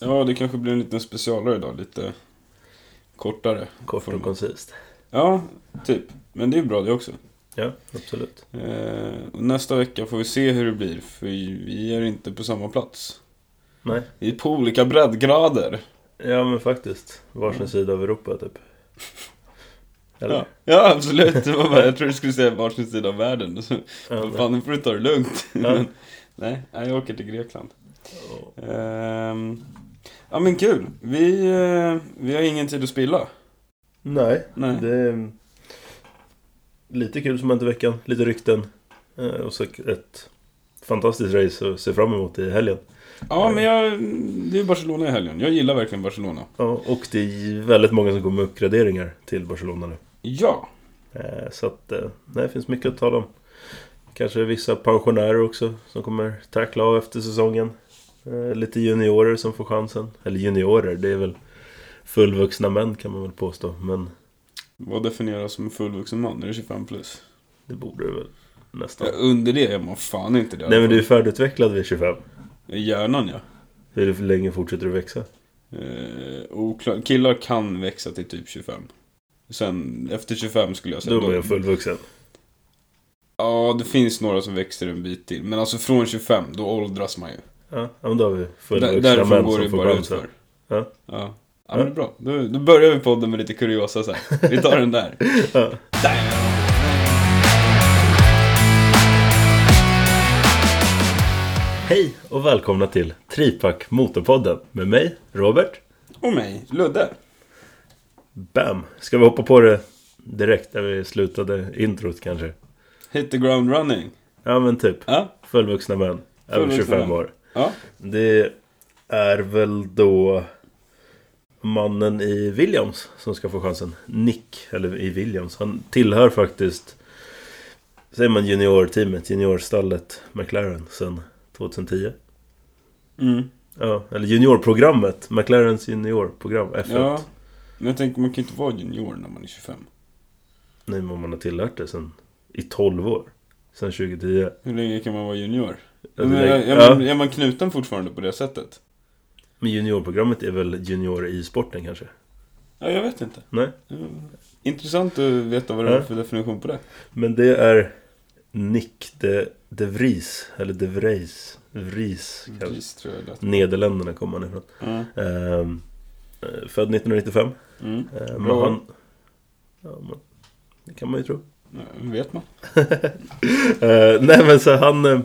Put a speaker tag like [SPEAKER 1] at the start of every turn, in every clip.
[SPEAKER 1] Ja, det kanske blir en liten specialare idag. Lite kortare.
[SPEAKER 2] Kort och koncist.
[SPEAKER 1] Ja, typ. Men det är bra det också.
[SPEAKER 2] Ja, absolut.
[SPEAKER 1] Eh, och nästa vecka får vi se hur det blir, för vi är inte på samma plats.
[SPEAKER 2] Nej.
[SPEAKER 1] Vi är på olika breddgrader.
[SPEAKER 2] Ja, men faktiskt. Varsin sida av Europa, typ. Eller?
[SPEAKER 1] Ja, ja absolut. Det var bara, jag tror du skulle säga varsin sida av världen. Så,
[SPEAKER 2] Ja,
[SPEAKER 1] men
[SPEAKER 2] men-
[SPEAKER 1] fan, nu får du ta det lugnt.
[SPEAKER 2] Ja.
[SPEAKER 1] Men, nej, nej, jag åker till Grekland.
[SPEAKER 2] Ja.
[SPEAKER 1] Ehm, ja men kul. Vi, eh, vi har ingen tid att spilla.
[SPEAKER 2] Nej,
[SPEAKER 1] Nej.
[SPEAKER 2] det är lite kul som hänt i veckan. Lite rykten. Eh, Och så ett fantastiskt race att se fram emot i helgen.
[SPEAKER 1] Ja men jag, det är Barcelona i helgen. Jag gillar verkligen Barcelona.
[SPEAKER 2] Ja, och det är väldigt många som kommer med uppgraderingar till Barcelona nu.
[SPEAKER 1] Ja,
[SPEAKER 2] Eh, Så att eh, nej, det finns mycket att tala om. Kanske vissa pensionärer också som kommer tackla av efter säsongen. Eh, Lite juniorer som får chansen. Eller juniorer, det är väl fullvuxna män kan man väl påstå. Men
[SPEAKER 1] vad definieras som en fullvuxen man? Är det 25 plus?
[SPEAKER 2] det borde det väl nästan.
[SPEAKER 1] Ja, under det är man fan inte det. i alla
[SPEAKER 2] Nej men du är
[SPEAKER 1] fall.
[SPEAKER 2] färdigutvecklad vid 25.
[SPEAKER 1] Hjärnan ja.
[SPEAKER 2] Hur länge fortsätter du växa?
[SPEAKER 1] Eh, oklar. Killar kan växa till typ 25. Sen efter 25 skulle jag säga.
[SPEAKER 2] Då är man ju
[SPEAKER 1] då-
[SPEAKER 2] fullvuxen.
[SPEAKER 1] Ja, det finns några som växer en bit till. Men alltså från 25, då åldras man ju.
[SPEAKER 2] Ja, ja, men då har vi
[SPEAKER 1] Där,
[SPEAKER 2] fullvuxna
[SPEAKER 1] därifrån
[SPEAKER 2] män
[SPEAKER 1] går det
[SPEAKER 2] som får
[SPEAKER 1] bara
[SPEAKER 2] chansen.
[SPEAKER 1] utför.
[SPEAKER 2] Ja.
[SPEAKER 1] Ja. Ja, men det är bra. Då, då börjar vi podden med lite kuriosa så här. Vi tar den där.
[SPEAKER 2] Ja. Hej och välkomna till Tripack Motorpodden med mig, Robert.
[SPEAKER 1] Och mig, Ludde.
[SPEAKER 2] Bam! Ska vi hoppa på det direkt där vi slutade introt kanske?
[SPEAKER 1] Hit the ground running.
[SPEAKER 2] Ja men typ,
[SPEAKER 1] Ja,
[SPEAKER 2] fullvuxna män, över
[SPEAKER 1] Fullvuxna
[SPEAKER 2] 25
[SPEAKER 1] män.
[SPEAKER 2] år.
[SPEAKER 1] ja.
[SPEAKER 2] Det är väl då mannen i Williams som ska få chansen. Nick, eller i Williams. Han tillhör faktiskt, säger man juniorteamet, juniorstallet McLaren sedan 2010.
[SPEAKER 1] Mm.
[SPEAKER 2] Ja, eller juniorprogrammet, McLarens juniorprogram, F1.
[SPEAKER 1] ja. Men jag tänker, man kan inte vara junior när man är 25.
[SPEAKER 2] Nej, men man har tillhört det sedan i 12 år. Sedan 2010.
[SPEAKER 1] Hur länge kan man vara junior?
[SPEAKER 2] Ja,
[SPEAKER 1] men,
[SPEAKER 2] det
[SPEAKER 1] är,
[SPEAKER 2] är-
[SPEAKER 1] är,
[SPEAKER 2] ja.
[SPEAKER 1] man, är man knuten fortfarande på det sättet?
[SPEAKER 2] Men juniorprogrammet är väl junior i sporten kanske?
[SPEAKER 1] Ja, jag vet inte.
[SPEAKER 2] Nej?
[SPEAKER 1] Mm. Intressant att veta vad det är
[SPEAKER 2] Ja.
[SPEAKER 1] för definition på det.
[SPEAKER 2] Men det är Nick de, de Vries, eller de Vries, Vries kanske.
[SPEAKER 1] Precis, tror jag det lät.
[SPEAKER 2] Nederländerna kommer han ifrån.
[SPEAKER 1] Ja.
[SPEAKER 2] Ehm, eh, född 1995.
[SPEAKER 1] Mm.
[SPEAKER 2] Ehm, men
[SPEAKER 1] Bra.
[SPEAKER 2] han, ja, men, det kan man ju tro.
[SPEAKER 1] Ja, vet man.
[SPEAKER 2] Ehm, nej men så han, eh,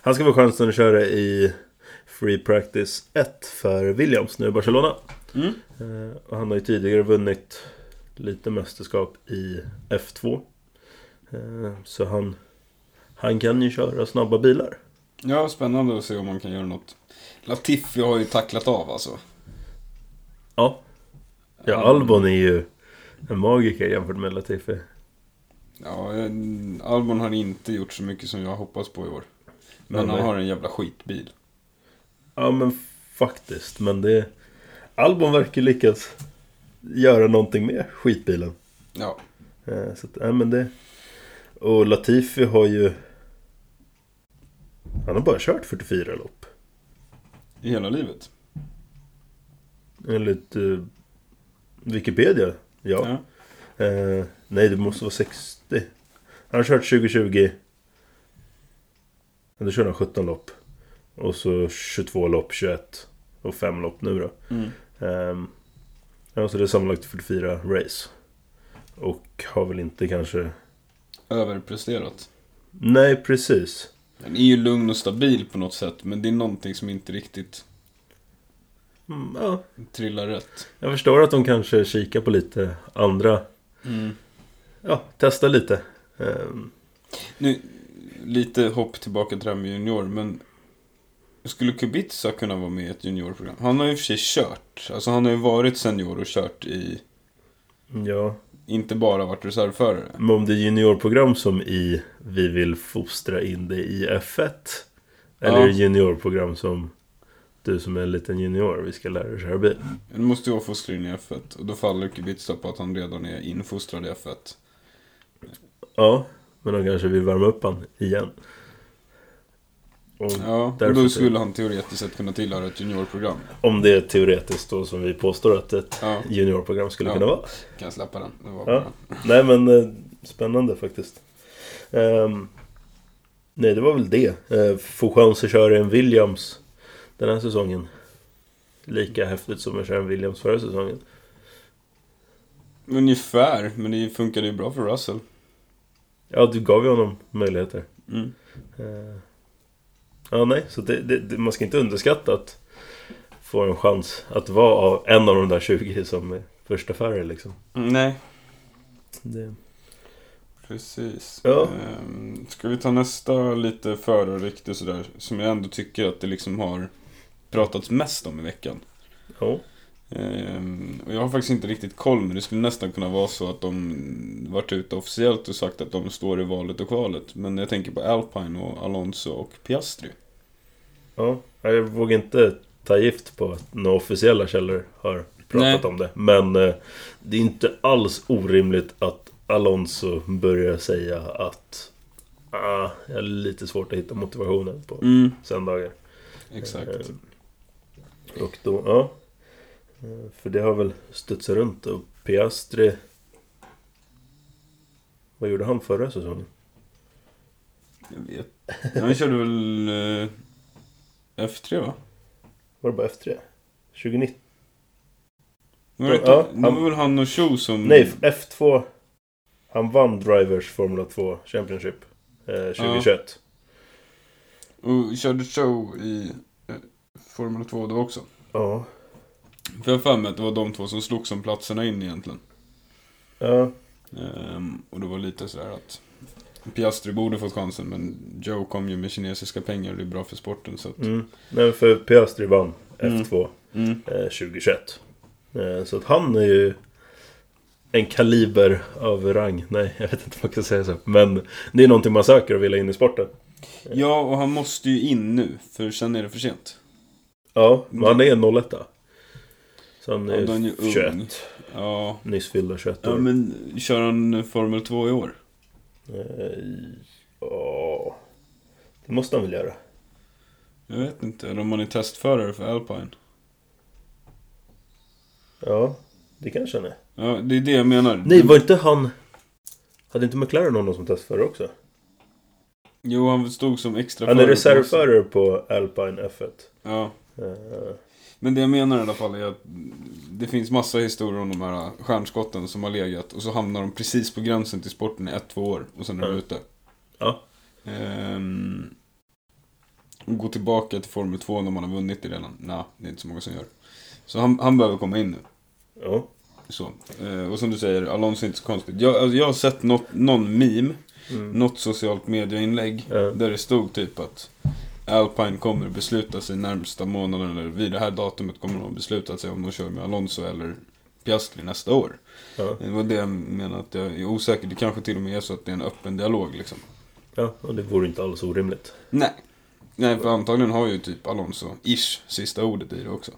[SPEAKER 2] han ska få chansen att köra i Free Practice 1 för Williams nu i Barcelona.
[SPEAKER 1] Mm.
[SPEAKER 2] Eh, Och han har ju tidigare vunnit lite mästerskap i F2. Eh, Så han, han kan ju köra snabba bilar.
[SPEAKER 1] Ja, spännande att se om man kan göra något. Latifi har ju tacklat av alltså. Mm.
[SPEAKER 2] Ja. Ja,
[SPEAKER 1] Han-
[SPEAKER 2] Albon är ju en magiker jämfört med Latifi.
[SPEAKER 1] Ja, eh, Albon har inte gjort så mycket som jag hoppas på i år. Men
[SPEAKER 2] Nej,
[SPEAKER 1] han
[SPEAKER 2] nej.
[SPEAKER 1] har en jävla skitbil.
[SPEAKER 2] Ja, men faktiskt. Men det... Albon verkar lyckas göra någonting med skitbilen.
[SPEAKER 1] Ja,
[SPEAKER 2] Eh, Så att, nej, men det... Och Latifi har ju... Han har bara kört 44 lopp.
[SPEAKER 1] i hela livet.
[SPEAKER 2] Enligt eh, Wikipedia, ja.
[SPEAKER 1] Ja.
[SPEAKER 2] Eh, nej, det måste vara 60. Han har kört 2020. Men Då körde han 17 lopp. Och så 22 lopp, 21 och 5 lopp nu då.
[SPEAKER 1] Mm.
[SPEAKER 2] Eh, ja, så det är sammanlagt 44 race. Och har väl inte kanske...
[SPEAKER 1] Överpresterat.
[SPEAKER 2] Nej, precis.
[SPEAKER 1] Den är ju lugn och stabil på något sätt, men det är någonting som inte riktigt
[SPEAKER 2] Mm, ja,
[SPEAKER 1] trillar rätt.
[SPEAKER 2] jag förstår att de kanske kikar på lite andra... Mm. Ja, testa lite. Eh,
[SPEAKER 1] Nu, lite hopp tillbaka till det här med junior, men skulle Kubica kunna vara med i ett juniorprogram? Han har ju i och för sig kört. Alltså han har ju varit senior och kört i,
[SPEAKER 2] ja,
[SPEAKER 1] inte bara varit reservförare.
[SPEAKER 2] Men om det är juniorprogram som i Vi vill fostra in dig i F1 Eller
[SPEAKER 1] Ja.
[SPEAKER 2] är det juniorprogram som Du som är en liten junior, vi ska lära dig köra bil
[SPEAKER 1] Nu måste jag fostra in i F1 och då faller Kubica på att han redan är infostrad i F1.
[SPEAKER 2] Ja, men de kanske vill värma upp han igen Och
[SPEAKER 1] Ja, och
[SPEAKER 2] därför
[SPEAKER 1] då skulle han teoretiskt sett kunna tillhöra ett juniorprogram.
[SPEAKER 2] Om det är teoretiskt då som vi påstår att ett
[SPEAKER 1] Ja,
[SPEAKER 2] juniorprogram skulle
[SPEAKER 1] Ja.
[SPEAKER 2] kunna vara.
[SPEAKER 1] kan jag släppa den? Det var
[SPEAKER 2] Ja.
[SPEAKER 1] bra.
[SPEAKER 2] Nej men eh, spännande faktiskt. Ehm, nej det var väl det. Uh, få chans att köra en Williams den här säsongen. Lika häftigt som att köra en Williams förra säsongen.
[SPEAKER 1] Ungefär, men det funkade ju bra för Russell.
[SPEAKER 2] Ja, du gav ju honom möjligheter.
[SPEAKER 1] Mm.
[SPEAKER 2] Eh, ja, nej, så det, det, det, man ska inte underskatta att få en chans att vara av- en av de där 20 som är första färre liksom.
[SPEAKER 1] Mm, Nej,
[SPEAKER 2] Det,
[SPEAKER 1] precis.
[SPEAKER 2] Ja.
[SPEAKER 1] Ehm, Ska vi ta nästa lite förarrykte sådär, som jag ändå tycker att det liksom har pratats mest om i veckan.
[SPEAKER 2] ja.
[SPEAKER 1] Ehm, och jag har faktiskt inte riktigt koll, men det skulle nästan kunna vara så att de varit ute officiellt och sagt att de står i valet och kvalet. Men jag tänker på Alpine och Alonso och Piastri.
[SPEAKER 2] Ja, jag vågar inte ta gift på att några officiella källor har pratat
[SPEAKER 1] Nej.
[SPEAKER 2] om det. Men eh, det är inte alls orimligt att Alonso börjar säga att ah, jag är lite svårt att hitta motivationen på
[SPEAKER 1] Mm,
[SPEAKER 2] söndagar.
[SPEAKER 1] exakt.
[SPEAKER 2] Eh, Och då, ja. Eh, För det har väl studsat runt och Piastri... Vad gjorde han förra säsongen?
[SPEAKER 1] Jag vet. Han körde väl eh, F3 va?
[SPEAKER 2] Var det bara F3? 2019?
[SPEAKER 1] Men vet
[SPEAKER 2] Ja,
[SPEAKER 1] du, det
[SPEAKER 2] han-
[SPEAKER 1] var väl han och Cho som...
[SPEAKER 2] Nej, F2. Han vann Drivers Formula 2 Championship eh, 2021.
[SPEAKER 1] Och körde Cho i eh, Formel 2 då också.
[SPEAKER 2] Ja.
[SPEAKER 1] För jag har för mig att det var de två som slogs om platserna in egentligen.
[SPEAKER 2] ja.
[SPEAKER 1] Ehm, och det var lite sådär att Piastri borde fått chansen men Joe kom ju med kinesiska pengar och det är bra för sporten så att...
[SPEAKER 2] Mm. Nej, för Piastri vann
[SPEAKER 1] Mm.
[SPEAKER 2] F2
[SPEAKER 1] Mm.
[SPEAKER 2] eh, 2021. Eh, så att han är ju en kaliber av rang. Nej, jag vet inte vad jag ska säga så. Men det är någonting man söker och vill ha in i sporten.
[SPEAKER 1] Ja, och han måste ju in nu för sen är det för sent.
[SPEAKER 2] Ja, men han är en 01 Så han
[SPEAKER 1] Ja,
[SPEAKER 2] är,
[SPEAKER 1] då är han ju ung.
[SPEAKER 2] 21.
[SPEAKER 1] Ja,
[SPEAKER 2] Nyss fyllda 21 år.
[SPEAKER 1] ja men kör han Formel 2 i år?
[SPEAKER 2] Eh, ja. Det måste han väl göra.
[SPEAKER 1] Jag vet inte, eller om han är testförare för Alpine.
[SPEAKER 2] Ja, det kanske han är.
[SPEAKER 1] Ja, det är det jag menar.
[SPEAKER 2] Nej, var inte han... Hade inte McLaren någon som testförare också?
[SPEAKER 1] Jo, han stod som extra
[SPEAKER 2] Han är
[SPEAKER 1] förare på-
[SPEAKER 2] reservförare på Alpine F1.
[SPEAKER 1] Ja.
[SPEAKER 2] Eh,
[SPEAKER 1] Men det jag menar i alla fall är att det finns massa historier om de här stjärnskotten som har legat och så hamnar de precis på gränsen till sporten i ett, två år och sen är de
[SPEAKER 2] Ja.
[SPEAKER 1] ute.
[SPEAKER 2] Ja.
[SPEAKER 1] Ehm, och gå tillbaka till Formel 2 när man har vunnit det redan. Nej, det är inte så många som gör. Så han, han behöver komma in nu.
[SPEAKER 2] ja.
[SPEAKER 1] Så. Eh, och som du säger, Alonso är inte så konstigt. Jag, alltså, jag har sett något, någon meme,
[SPEAKER 2] Mm.
[SPEAKER 1] något socialt mediainlägg
[SPEAKER 2] Ja.
[SPEAKER 1] där det stod typ att Alpine kommer besluta sig närmsta månaden eller vid det här datumet kommer de att besluta sig om de kör med Alonso eller Piastri nästa år.
[SPEAKER 2] Ja.
[SPEAKER 1] Det var det jag menade att jag är osäker. Det kanske till och med är så att det är en öppen dialog liksom.
[SPEAKER 2] ja, och det vore inte alls orimligt.
[SPEAKER 1] Nej. Nej, för antagligen har ju typ Alonso-ish sista ordet i det också.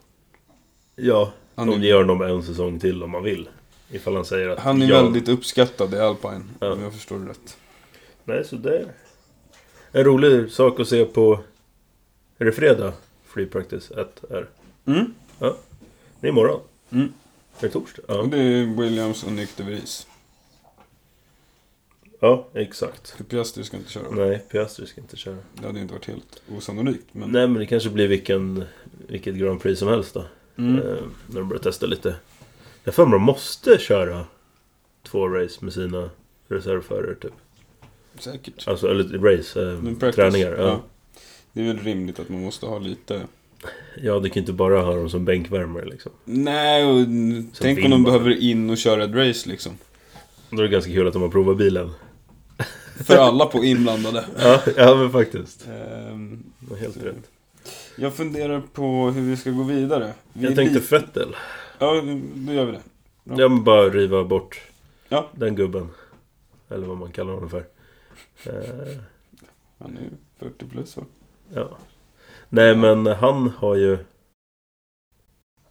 [SPEAKER 2] Ja,
[SPEAKER 1] Han
[SPEAKER 2] de
[SPEAKER 1] är-
[SPEAKER 2] ger honom en säsong till om man vill. Ifall han säger att...
[SPEAKER 1] Han är
[SPEAKER 2] ja.
[SPEAKER 1] väldigt uppskattad i Alpine,
[SPEAKER 2] Ja.
[SPEAKER 1] om jag förstår det rätt.
[SPEAKER 2] Nej, så det är en rolig sak att se på... Är det fredag? Free Practice 1 är.
[SPEAKER 1] Mm.
[SPEAKER 2] Det är imorgon.
[SPEAKER 1] Mm.
[SPEAKER 2] Är det torsdag?
[SPEAKER 1] Och
[SPEAKER 2] Ja,
[SPEAKER 1] det är Williams och Nick de Vries.
[SPEAKER 2] ja exakt.
[SPEAKER 1] För Piastri ska inte köra.
[SPEAKER 2] Nej, Piastri ska inte köra.
[SPEAKER 1] Det hade ju inte varit helt osannolikt. Men...
[SPEAKER 2] Nej men det kanske blir vilken, vilket Grand Prix som helst då.
[SPEAKER 1] Mm.
[SPEAKER 2] Eh, när de börjar testa lite. Jag för mig de måste köra två race med sina reservförare typ.
[SPEAKER 1] Säkert.
[SPEAKER 2] Alltså, eller race, eh,
[SPEAKER 1] Men practice,
[SPEAKER 2] träningar. Ja. Ja.
[SPEAKER 1] ja. Det är väl rimligt att man måste ha lite...
[SPEAKER 2] du kan ju inte bara ha dem som bänkvärmare liksom.
[SPEAKER 1] Nej, och tänk om
[SPEAKER 2] vind
[SPEAKER 1] de
[SPEAKER 2] bara.
[SPEAKER 1] behöver in och köra ett race liksom.
[SPEAKER 2] Då är det ganska kul att de har provat bilen.
[SPEAKER 1] För alla på inblandade.
[SPEAKER 2] Ja, ja men faktiskt.
[SPEAKER 1] Ehm,
[SPEAKER 2] Det är Helt rätt.
[SPEAKER 1] Jag funderar på hur vi ska gå vidare. Vi är
[SPEAKER 2] Jag tänkte
[SPEAKER 1] lite-
[SPEAKER 2] Fettel.
[SPEAKER 1] Ja, då gör vi det. Ja.
[SPEAKER 2] Ja men bara riva bort
[SPEAKER 1] Ja.
[SPEAKER 2] den gubben. Eller vad man kallar honom för. Eh,
[SPEAKER 1] Han är ju 40 plus va?
[SPEAKER 2] Ja. Nej men han har ju...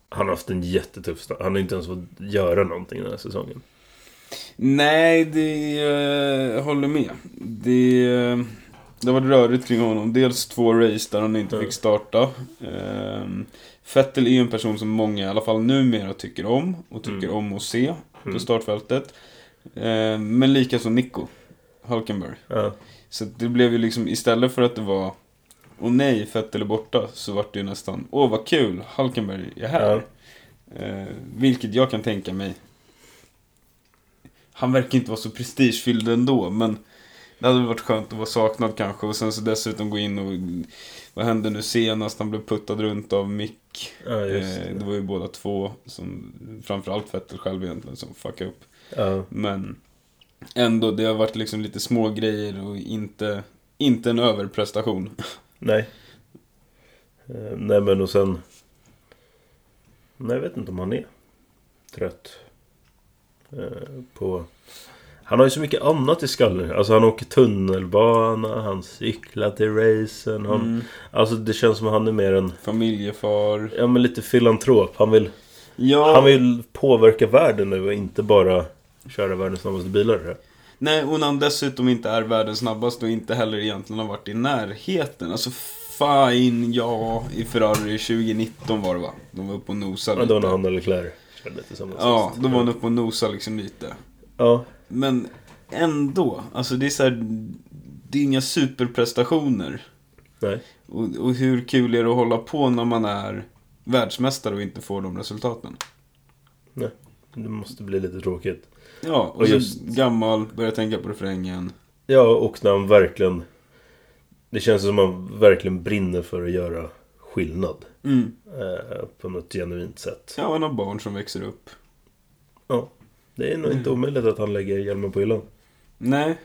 [SPEAKER 2] Han har haft en jättetuff start. Han har inte ens fått göra någonting den här säsongen.
[SPEAKER 1] Nej, det eh, jag håller med. Det eh, Det var rörigt kring honom. Dels två race där han inte
[SPEAKER 2] Mm.
[SPEAKER 1] fick starta. Ehm, Vettel är ju en person som många, i alla fall numera, tycker om. Och tycker
[SPEAKER 2] Mm.
[SPEAKER 1] om att se på
[SPEAKER 2] Mm.
[SPEAKER 1] startfältet. Ehm, men likaså Nico Hulkenberg.
[SPEAKER 2] Ja.
[SPEAKER 1] Så att det blev ju liksom, istället för att det var Åh nej, Vettel är borta. Så vart det ju nästan Åh vad kul, Hulkenberg är här.
[SPEAKER 2] Ja.
[SPEAKER 1] Eh, vilket jag kan tänka mig. Han verkar inte vara så prestigefylld ändå, men det hade väl varit skönt att vara saknad kanske. Och sen så dessutom gå in och... Vad hände nu senast? Han blev puttad runt av Mick.
[SPEAKER 2] Ja, just
[SPEAKER 1] eh, det var ju båda två som... Framförallt Vettel själv egentligen som fuckade upp.
[SPEAKER 2] Ja.
[SPEAKER 1] Men ändå, det har varit liksom lite små grejer och inte... Inte en överprestation.
[SPEAKER 2] Nej. Eh, Nej men och sen... Nej jag vet inte om han är trött. Eh, På... Han har ju så mycket annat i skallen. Alltså han åker tunnelbana, han cyklar till racen. Han...
[SPEAKER 1] Mm.
[SPEAKER 2] Alltså det känns som att han är mer en...
[SPEAKER 1] Familjefar.
[SPEAKER 2] Ja men lite filantrop. Han vill,
[SPEAKER 1] Ja.
[SPEAKER 2] han vill påverka världen nu och inte bara köra världens snabbaste bilar.
[SPEAKER 1] Nej, och när han dessutom inte är världens snabbaste och inte heller egentligen har varit i närheten. Alltså fine, ja, i Ferrari 2019 var det va? De var uppe och nosade
[SPEAKER 2] Ja, det var
[SPEAKER 1] lite.
[SPEAKER 2] när han och Leclerc körde tillsammans.
[SPEAKER 1] Ja,
[SPEAKER 2] sist.
[SPEAKER 1] då var han uppe och nosade liksom lite.
[SPEAKER 2] Ja,
[SPEAKER 1] Men ändå, alltså det är så här, det är inga superprestationer.
[SPEAKER 2] nej.
[SPEAKER 1] Och, och hur kul är det att hålla på när man är världsmästare och inte får de resultaten?
[SPEAKER 2] Det måste bli lite tråkigt.
[SPEAKER 1] Ja, och,
[SPEAKER 2] Och
[SPEAKER 1] just
[SPEAKER 2] just-
[SPEAKER 1] gammal, börjar tänka på refrängen.
[SPEAKER 2] Ja, och när han verkligen... Det känns som att han verkligen brinner för att göra skillnad.
[SPEAKER 1] Mm.
[SPEAKER 2] Eh, på något genuint sätt.
[SPEAKER 1] Ja, han har barn som växer upp.
[SPEAKER 2] Det är nog inte
[SPEAKER 1] Mm.
[SPEAKER 2] omöjligt att han lägger hjälmen på hyllan.
[SPEAKER 1] Nej,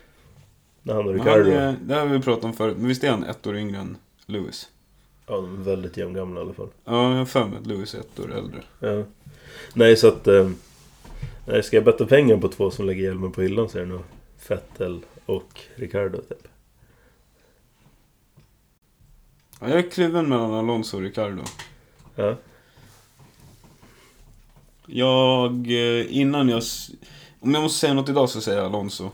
[SPEAKER 2] När han och
[SPEAKER 1] Men Han eh,
[SPEAKER 2] Ricardo...
[SPEAKER 1] är, det här har vi pratat om förut, men visst är han ett år yngre än Lewis?
[SPEAKER 2] Ja, de är väldigt jämngamla i alla fall.
[SPEAKER 1] Ja, jag har för mig att Lewis är ett år äldre.
[SPEAKER 2] Ja. Nej, så att... Eh, nej, ska jag betta pengar på två som lägger hjälmen på hyllan så är det nog Fettel och Ricardo typ.
[SPEAKER 1] Ja, jag är kluven mellan Alonso och Ricardo.
[SPEAKER 2] Ja.
[SPEAKER 1] Jag, eh, innan jag... s- Om jag måste säga något idag så säger jag Alonso.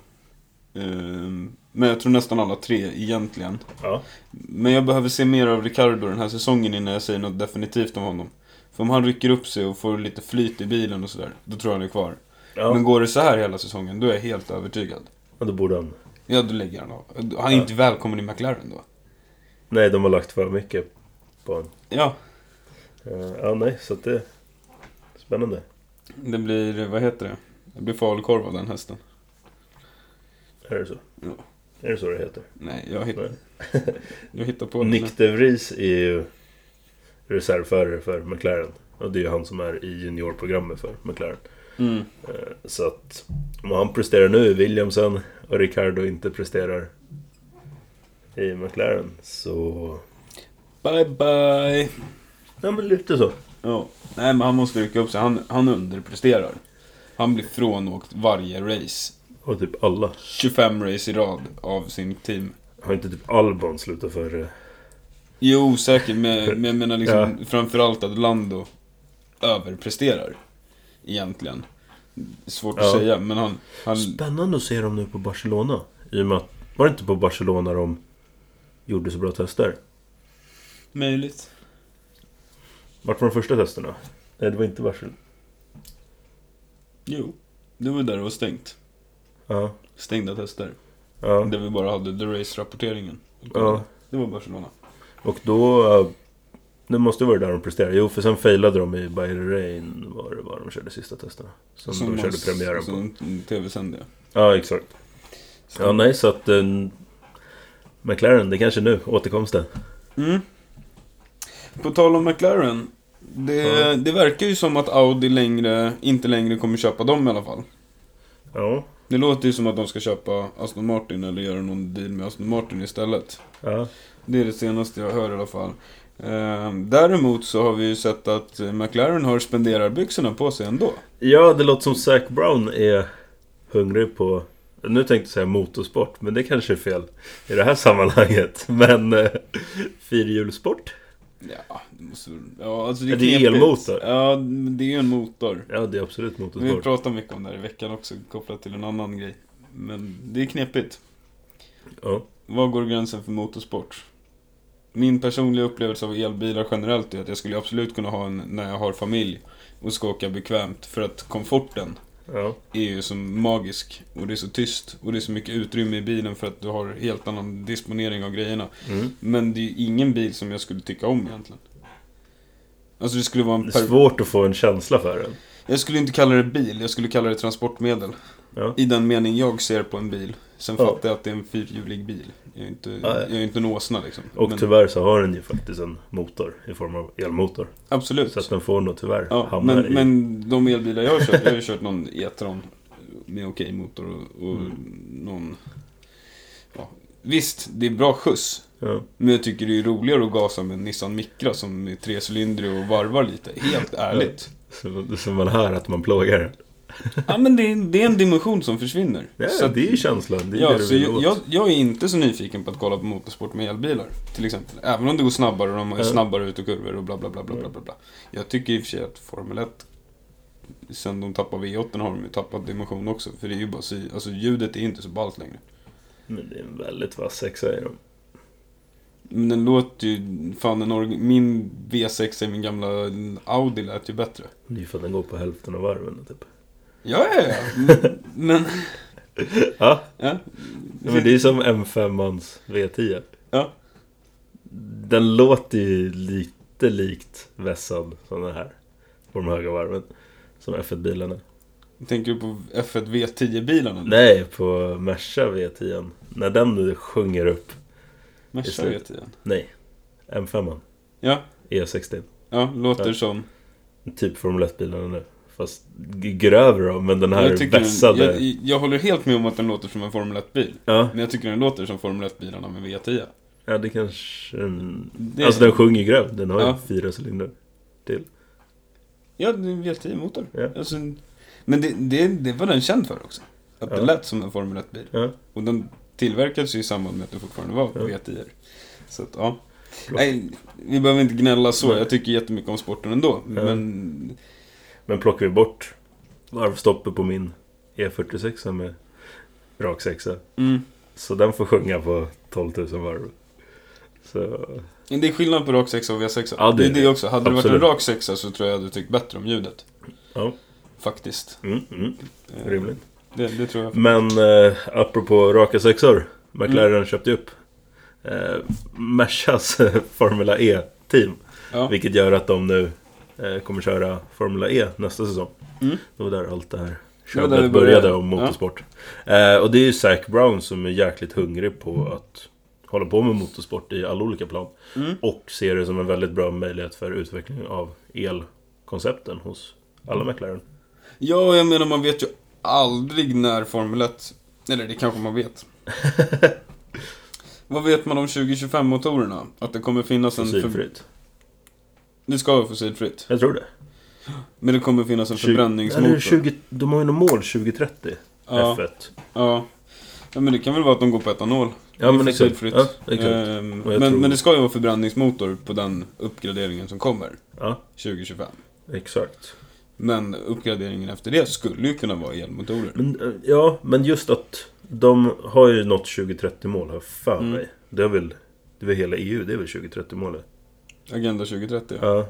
[SPEAKER 1] Ehm, Men jag tror nästan alla tre egentligen.
[SPEAKER 2] Ja.
[SPEAKER 1] Men jag behöver se mer av Ricardo den här säsongen innan jag säger något definitivt om honom. För om han rycker upp sig och får lite flyt i bilen och sådär, då tror jag han är kvar.
[SPEAKER 2] Ja,
[SPEAKER 1] Men går det så här hela säsongen, då är jag helt övertygad.
[SPEAKER 2] ja, då borde han...
[SPEAKER 1] Ja, då lägger han av. Han är
[SPEAKER 2] Ja.
[SPEAKER 1] inte välkommen i McLaren då.
[SPEAKER 2] Nej, de har lagt för mycket på honom.
[SPEAKER 1] Ja,
[SPEAKER 2] Eh, ja, nej, så att det... Spännande.
[SPEAKER 1] det blir, vad heter det? Det blir falukorv av den hästen.
[SPEAKER 2] Är det så?
[SPEAKER 1] Ja.
[SPEAKER 2] Är det så det heter?
[SPEAKER 1] Nej, jag, hitt,
[SPEAKER 2] Nej.
[SPEAKER 1] jag hittar på
[SPEAKER 2] Och
[SPEAKER 1] den.
[SPEAKER 2] Nick de Vries är ju reservförare för McLaren. Och det är ju han som är i juniorprogrammet för McLaren.
[SPEAKER 1] Mm.
[SPEAKER 2] Eh, Så att om han presterar nu i Williamson och Ricardo inte presterar i McLaren så...
[SPEAKER 1] Bye bye!
[SPEAKER 2] Ja men lite så.
[SPEAKER 1] Ja. Nej, men han måste rycka upp sig. Han, han underpresterar. Han blir frånåkt varje race.
[SPEAKER 2] Och typ alla.
[SPEAKER 1] 25 race i rad av sin team.
[SPEAKER 2] Har inte typ Albon slutat för... eh,
[SPEAKER 1] Jo, säkert, men, men jag menar liksom
[SPEAKER 2] Ja.
[SPEAKER 1] framförallt att Lando överpresterar. Egentligen. Svårt att
[SPEAKER 2] Ja.
[SPEAKER 1] säga, men han... han
[SPEAKER 2] Spännande att se dem nu på Barcelona. I och med att... Var det inte på Barcelona de gjorde så bra tester?
[SPEAKER 1] möjligt.
[SPEAKER 2] Vart var de första testerna? Nej det var inte Barcelona.
[SPEAKER 1] Jo, det var där det var stängt.
[SPEAKER 2] Ja.
[SPEAKER 1] Stängda tester.
[SPEAKER 2] Ja.
[SPEAKER 1] Där vi bara hade the race-rapporteringen.
[SPEAKER 2] ja.
[SPEAKER 1] Det var Barcelona.
[SPEAKER 2] Och då... eh, Det måste vara där de presterade. Jo, för sen failade de i Bahrain var det var de körde sista testerna. Som, de körde premiären på.
[SPEAKER 1] Som de tv-sände ja.
[SPEAKER 2] Ja, exakt. Ja, nej, så att... Eh, McLaren, det kanske är nu. Återkomsten.
[SPEAKER 1] Mm. På tal om McLaren. Det,
[SPEAKER 2] Ja.
[SPEAKER 1] det verkar ju som att Audi längre, inte längre kommer köpa dem i alla fall.
[SPEAKER 2] Ja.
[SPEAKER 1] Det låter ju som att de ska köpa Aston Martin eller göra någon deal med Aston Martin istället.
[SPEAKER 2] Ja.
[SPEAKER 1] Det är det senaste jag hör i alla fall. Eh, Däremot så har vi ju sett att eh, McLaren har spenderarbyxorna på sig ändå.
[SPEAKER 2] ja, det låter som Zac Brown är hungrig på... Nu tänkte jag säga motorsport, men det kanske är fel i det här sammanhanget. Men eh, fyrhjulssport?
[SPEAKER 1] Ja, det måste väl- ja, alltså det är
[SPEAKER 2] Ja, det är
[SPEAKER 1] knepigt.
[SPEAKER 2] elmotor.
[SPEAKER 1] Ja, men det är ju en motor.
[SPEAKER 2] Ja, det är absolut
[SPEAKER 1] Vi
[SPEAKER 2] motorsport.
[SPEAKER 1] pratade mycket om det här i veckan också, kopplat till en annan grej. Men det är knepigt.
[SPEAKER 2] Ja.
[SPEAKER 1] var går gränsen för motorsport? Min personliga upplevelse av elbilar generellt är att jag skulle absolut kunna ha en när jag har familj och ska åka bekvämt. För att komforten
[SPEAKER 2] Ja.
[SPEAKER 1] är ju som magisk. Och det är så tyst och det är så mycket utrymme i bilen för att du har helt annan disponering av grejerna.
[SPEAKER 2] Mm.
[SPEAKER 1] Men det är ju ingen bil som jag skulle tycka om egentligen. Alltså det skulle vara
[SPEAKER 2] Det
[SPEAKER 1] en...
[SPEAKER 2] är
[SPEAKER 1] Per-
[SPEAKER 2] svårt att få en känsla för den.
[SPEAKER 1] jag skulle inte kalla det bil, jag skulle kalla det transportmedel.
[SPEAKER 2] Ja.
[SPEAKER 1] I den mening jag ser på en bil. Sen
[SPEAKER 2] Ja.
[SPEAKER 1] fattar jag att det är en fyrhjulig bil. Jag är inte,
[SPEAKER 2] ja.
[SPEAKER 1] jag är inte en åsna liksom.
[SPEAKER 2] Och
[SPEAKER 1] Men
[SPEAKER 2] tyvärr så har den ju faktiskt en motor i form av elmotor.
[SPEAKER 1] absolut.
[SPEAKER 2] Så att den får nog tyvärr
[SPEAKER 1] Ja,
[SPEAKER 2] hamna
[SPEAKER 1] men,
[SPEAKER 2] i...
[SPEAKER 1] men de elbilar jag har kört, jag har ju kört någon E-tron med okej motor och, och
[SPEAKER 2] Mm.
[SPEAKER 1] någon... Ja. Visst, det är bra skjuts.
[SPEAKER 2] Ja.
[SPEAKER 1] Men jag tycker det är roligare att gasa med en Nissan Micra som är trecylindrig och varvar lite. Helt ärligt.
[SPEAKER 2] Så, så man hör att man plågar den.
[SPEAKER 1] Ja men det är, det är en dimension som försvinner.
[SPEAKER 2] Ja,
[SPEAKER 1] Så att-
[SPEAKER 2] det är ju känslan. Det är
[SPEAKER 1] Ja,
[SPEAKER 2] det du
[SPEAKER 1] så
[SPEAKER 2] vill
[SPEAKER 1] jag,
[SPEAKER 2] åt.
[SPEAKER 1] jag, jag är inte så nyfiken på att kolla på motorsport med elbilar. Till exempel. Även om det går snabbare och de är
[SPEAKER 2] Ja.
[SPEAKER 1] snabbare ut och kurvor och bla bla bla bla bla bla. bla. Jag tycker i och för sig att Formel 1, sen de tappade V8 har de ju tappat dimension också. För det är ju bara, sy- alltså ljudet är inte så ballt längre.
[SPEAKER 2] Men det är en väldigt vass sexa i dem.
[SPEAKER 1] Men den låter ju, fan en org- min V6 i min gamla Audi lät ju bättre.
[SPEAKER 2] Det är ju för att den går på hälften av varven typ.
[SPEAKER 1] Ja, ja, ja. Men- Men,
[SPEAKER 2] Ja,
[SPEAKER 1] ja.
[SPEAKER 2] men det är som M5-mans V10.
[SPEAKER 1] Ja.
[SPEAKER 2] Den låter ju lite likt vässad som den här. På de höga varven. Som F1-bilarna.
[SPEAKER 1] Tänker du på F1 V10-bilarna?
[SPEAKER 2] Nej, Mm. på Merca V10. När den sjunger upp.
[SPEAKER 1] Merca
[SPEAKER 2] just
[SPEAKER 1] V10.
[SPEAKER 2] Nej, M5.
[SPEAKER 1] Ja,
[SPEAKER 2] E60.
[SPEAKER 1] ja, låter
[SPEAKER 2] Ja.
[SPEAKER 1] som...
[SPEAKER 2] E Typ Formel 1-bilarna nu. Fast g- grövre då, men den här
[SPEAKER 1] tycker
[SPEAKER 2] vässade.
[SPEAKER 1] den, jag, jag håller helt med om att den låter som en Formel 1-bil.
[SPEAKER 2] Ja,
[SPEAKER 1] Men jag tycker den låter som Formel 1-bilarna med V10.
[SPEAKER 2] ja, det kanske... mm,
[SPEAKER 1] Det,
[SPEAKER 2] Alltså den sjunger grövre. Den har ju
[SPEAKER 1] Ja.
[SPEAKER 2] fyra cylindrar.
[SPEAKER 1] Ja, det är en V10-motor.
[SPEAKER 2] Ja.
[SPEAKER 1] Alltså, men det, det, det var den känd för också. Att
[SPEAKER 2] Ja.
[SPEAKER 1] den lät som en Formel 1-bil.
[SPEAKER 2] Ja.
[SPEAKER 1] Och den tillverkades ju i samband med att det fortfarande var V10. Så att, ja.
[SPEAKER 2] Bra.
[SPEAKER 1] Nej, vi behöver inte gnälla så.
[SPEAKER 2] Nej.
[SPEAKER 1] Jag tycker jättemycket om sporten ändå.
[SPEAKER 2] Ja.
[SPEAKER 1] Men
[SPEAKER 2] Men plockar vi bort varvstoppet på min E E46 med rak sexa.
[SPEAKER 1] mm,
[SPEAKER 2] Så den får sjunga på 12 000 varv. Så
[SPEAKER 1] det är skillnad på rak sexa och V6.
[SPEAKER 2] Ja, det
[SPEAKER 1] det,
[SPEAKER 2] är
[SPEAKER 1] är det också. Hade det
[SPEAKER 2] Absolut.
[SPEAKER 1] varit en rak sexa så tror jag jag hade tyckt bättre om ljudet.
[SPEAKER 2] Ja.
[SPEAKER 1] Faktiskt.
[SPEAKER 2] mm, mm,
[SPEAKER 1] Eh,
[SPEAKER 2] rimligt.
[SPEAKER 1] Det, det tror jag.
[SPEAKER 2] Men eh, apropå raka sexor. McLaren
[SPEAKER 1] Mm.
[SPEAKER 2] köpte ju upp eh, Mercas Formula E-team.
[SPEAKER 1] Ja.
[SPEAKER 2] Vilket gör att de nu eh, kommer köra Formula E nästa säsong.
[SPEAKER 1] Mm.
[SPEAKER 2] Det var där allt det här
[SPEAKER 1] var där vi
[SPEAKER 2] köret började
[SPEAKER 1] började.
[SPEAKER 2] om motorsport. Eh, och det är ju Zac Brown som är jäkligt hungrig på att hålla på med motorsport i alla olika plan.
[SPEAKER 1] Mm.
[SPEAKER 2] Och ser det som en väldigt bra möjlighet för utveckling av elkoncepten hos
[SPEAKER 1] Mm.
[SPEAKER 2] alla McLaren.
[SPEAKER 1] Ja, och jag menar man vet ju aldrig när Formel 1... Eller det kanske man vet. Vad vet man om 2025-motorerna? Att det kommer finnas en... För...
[SPEAKER 2] Fossilfritt.
[SPEAKER 1] Det ska vara fossilfritt.
[SPEAKER 2] Jag tror det.
[SPEAKER 1] Men det kommer finnas en
[SPEAKER 2] 20
[SPEAKER 1] förbränningsmotor.
[SPEAKER 2] Eller 20, de har ju något mål 2030.
[SPEAKER 1] ja,
[SPEAKER 2] F1.
[SPEAKER 1] ja. ja, men det kan väl vara att de går på etanol. Det
[SPEAKER 2] Ja
[SPEAKER 1] är
[SPEAKER 2] men exakt.
[SPEAKER 1] fossilfritt.
[SPEAKER 2] Ja, exakt.
[SPEAKER 1] Ehm,
[SPEAKER 2] Och jag
[SPEAKER 1] men,
[SPEAKER 2] tror-
[SPEAKER 1] men det ska ju vara förbränningsmotor på den uppgraderingen som kommer.
[SPEAKER 2] Ja,
[SPEAKER 1] 2025.
[SPEAKER 2] exakt.
[SPEAKER 1] Men uppgraderingen efter det skulle ju kunna vara elmotorer.
[SPEAKER 2] Men, eh, ja, men just att de har ju nått 2030 mål har jag för
[SPEAKER 1] Mm.
[SPEAKER 2] mig. Det är väl det är väl hela EU, det är väl 2030 målet.
[SPEAKER 1] Agenda 2030.
[SPEAKER 2] Ja.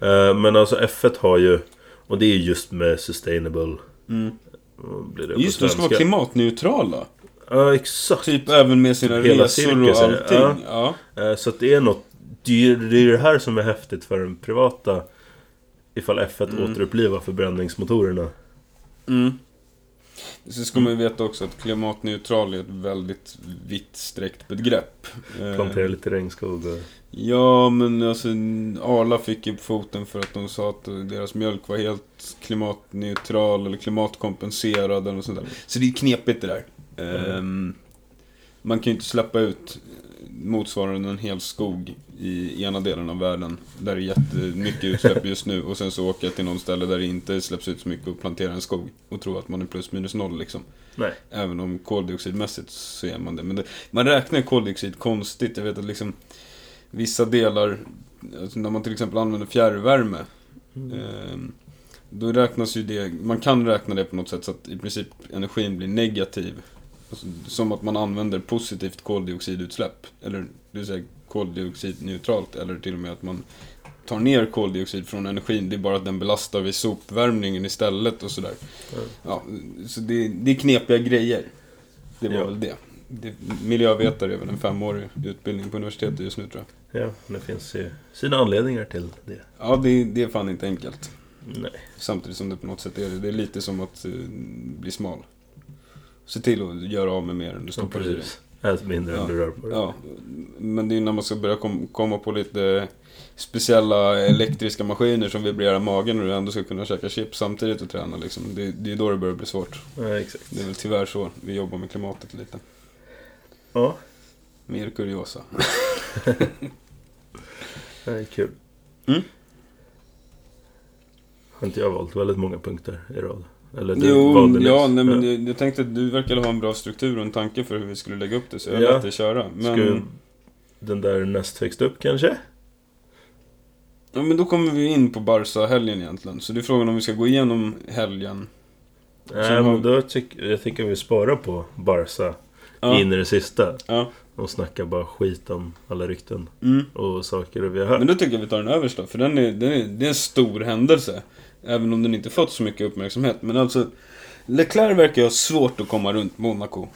[SPEAKER 1] Ja.
[SPEAKER 2] Eh, Men alltså F1 har ju, och det är ju just med sustainable...
[SPEAKER 1] Mm.
[SPEAKER 2] vad Blir det på
[SPEAKER 1] Just det, de ska vara
[SPEAKER 2] svenska?
[SPEAKER 1] klimatneutrala.
[SPEAKER 2] Ja, exakt.
[SPEAKER 1] Typ även med sina resor
[SPEAKER 2] Hela
[SPEAKER 1] och
[SPEAKER 2] cirkusen,
[SPEAKER 1] allting.
[SPEAKER 2] ja.
[SPEAKER 1] Ja.
[SPEAKER 2] Eh, Så att det är något... Det är ju det är ju det här som är häftigt för den privata... Ifall F1
[SPEAKER 1] Mm.
[SPEAKER 2] återupplivar förbränningsmotorerna.
[SPEAKER 1] Mm. Så ska man ju veta också att klimatneutral är ett väldigt vitt sträckt begrepp. Eh,
[SPEAKER 2] Plantera lite regnskog och...
[SPEAKER 1] Ja, men alltså Arla fick ju på foten för att de sa att deras mjölk var helt klimatneutral eller klimatkompenserad eller något sånt där. Så det är knepigt det där. Ehm, man kan ju inte släppa ut motsvarande en hel skog i ena delen av världen där det är jättemycket utsläpp just nu och sen så åka till någon ställe där det inte släpps ut så mycket och plantera en skog och tro att man är plus minus noll liksom.
[SPEAKER 2] Nej.
[SPEAKER 1] Även om koldioxidmässigt så är man det. Men det, man räknar koldioxid konstigt. Jag vet att liksom vissa delar, alltså när man till exempel använder fjärrvärme,
[SPEAKER 2] Mm.
[SPEAKER 1] ehm, då räknas ju det, man kan räkna det på något sätt så att i princip energin blir negativ alltså, som att man använder positivt koldioxidutsläpp. Eller det vill säga koldioxidneutralt. Eller till och med att man tar ner koldioxid från energin. Det är bara att den belastar vid sopvärmningen istället och sådär.
[SPEAKER 2] Mm.
[SPEAKER 1] Ja, så det, det är knepiga grejer. Det var
[SPEAKER 2] Ja.
[SPEAKER 1] väl det. det. Miljövetare är väl en femårig utbildning på universitetet just nu tror jag.
[SPEAKER 2] Ja, men det finns ju sina anledningar till det.
[SPEAKER 1] Ja, det, det är fan inte enkelt.
[SPEAKER 2] Nej.
[SPEAKER 1] Samtidigt som det på något sätt är det. Det är lite som att eh, bli smal. Se till att göra av med mer än du
[SPEAKER 2] Som
[SPEAKER 1] stoppar i dig.
[SPEAKER 2] precis. Ät mindre än
[SPEAKER 1] Ja.
[SPEAKER 2] du rör på dig.
[SPEAKER 1] Ja, men det är ju när man ska börja kom, komma på lite speciella elektriska maskiner som vibrerar magen och du ändå ska kunna käka chips samtidigt och träna liksom. Det, det är då det börjar bli svårt.
[SPEAKER 2] Ja, exakt.
[SPEAKER 1] Det är väl tyvärr så vi jobbar med klimatet lite.
[SPEAKER 2] Ja,
[SPEAKER 1] Mer kuriosa.
[SPEAKER 2] det är kul.
[SPEAKER 1] Mm.
[SPEAKER 2] Har inte jag valt väldigt många punkter i rad? Eller du
[SPEAKER 1] Jo,
[SPEAKER 2] valde
[SPEAKER 1] ja,
[SPEAKER 2] nyss.
[SPEAKER 1] nej, men jag, jag tänkte att du verkar ha en bra struktur och en tanke för hur vi skulle lägga upp det, så jag
[SPEAKER 2] Ja.
[SPEAKER 1] lät dig köra. Men,
[SPEAKER 2] Ska ju den där näst högst upp kanske?
[SPEAKER 1] ja, men då kommer vi in på Barca-helgen egentligen, så det är frågan om vi ska gå igenom helgen.
[SPEAKER 2] Nej,
[SPEAKER 1] Sen har-
[SPEAKER 2] men då tycker jag tycker vi sparar på Barca
[SPEAKER 1] Ja,
[SPEAKER 2] in i det sista.
[SPEAKER 1] ja.
[SPEAKER 2] Och snackar bara skit om alla rykten
[SPEAKER 1] Mm.
[SPEAKER 2] och saker vi har hört.
[SPEAKER 1] Men då tycker jag vi tar den översta, för den är, den är, det är en stor händelse. Även om den inte fått så mycket uppmärksamhet. Men alltså, Leclerc verkar ju ha svårt att komma runt Monaco.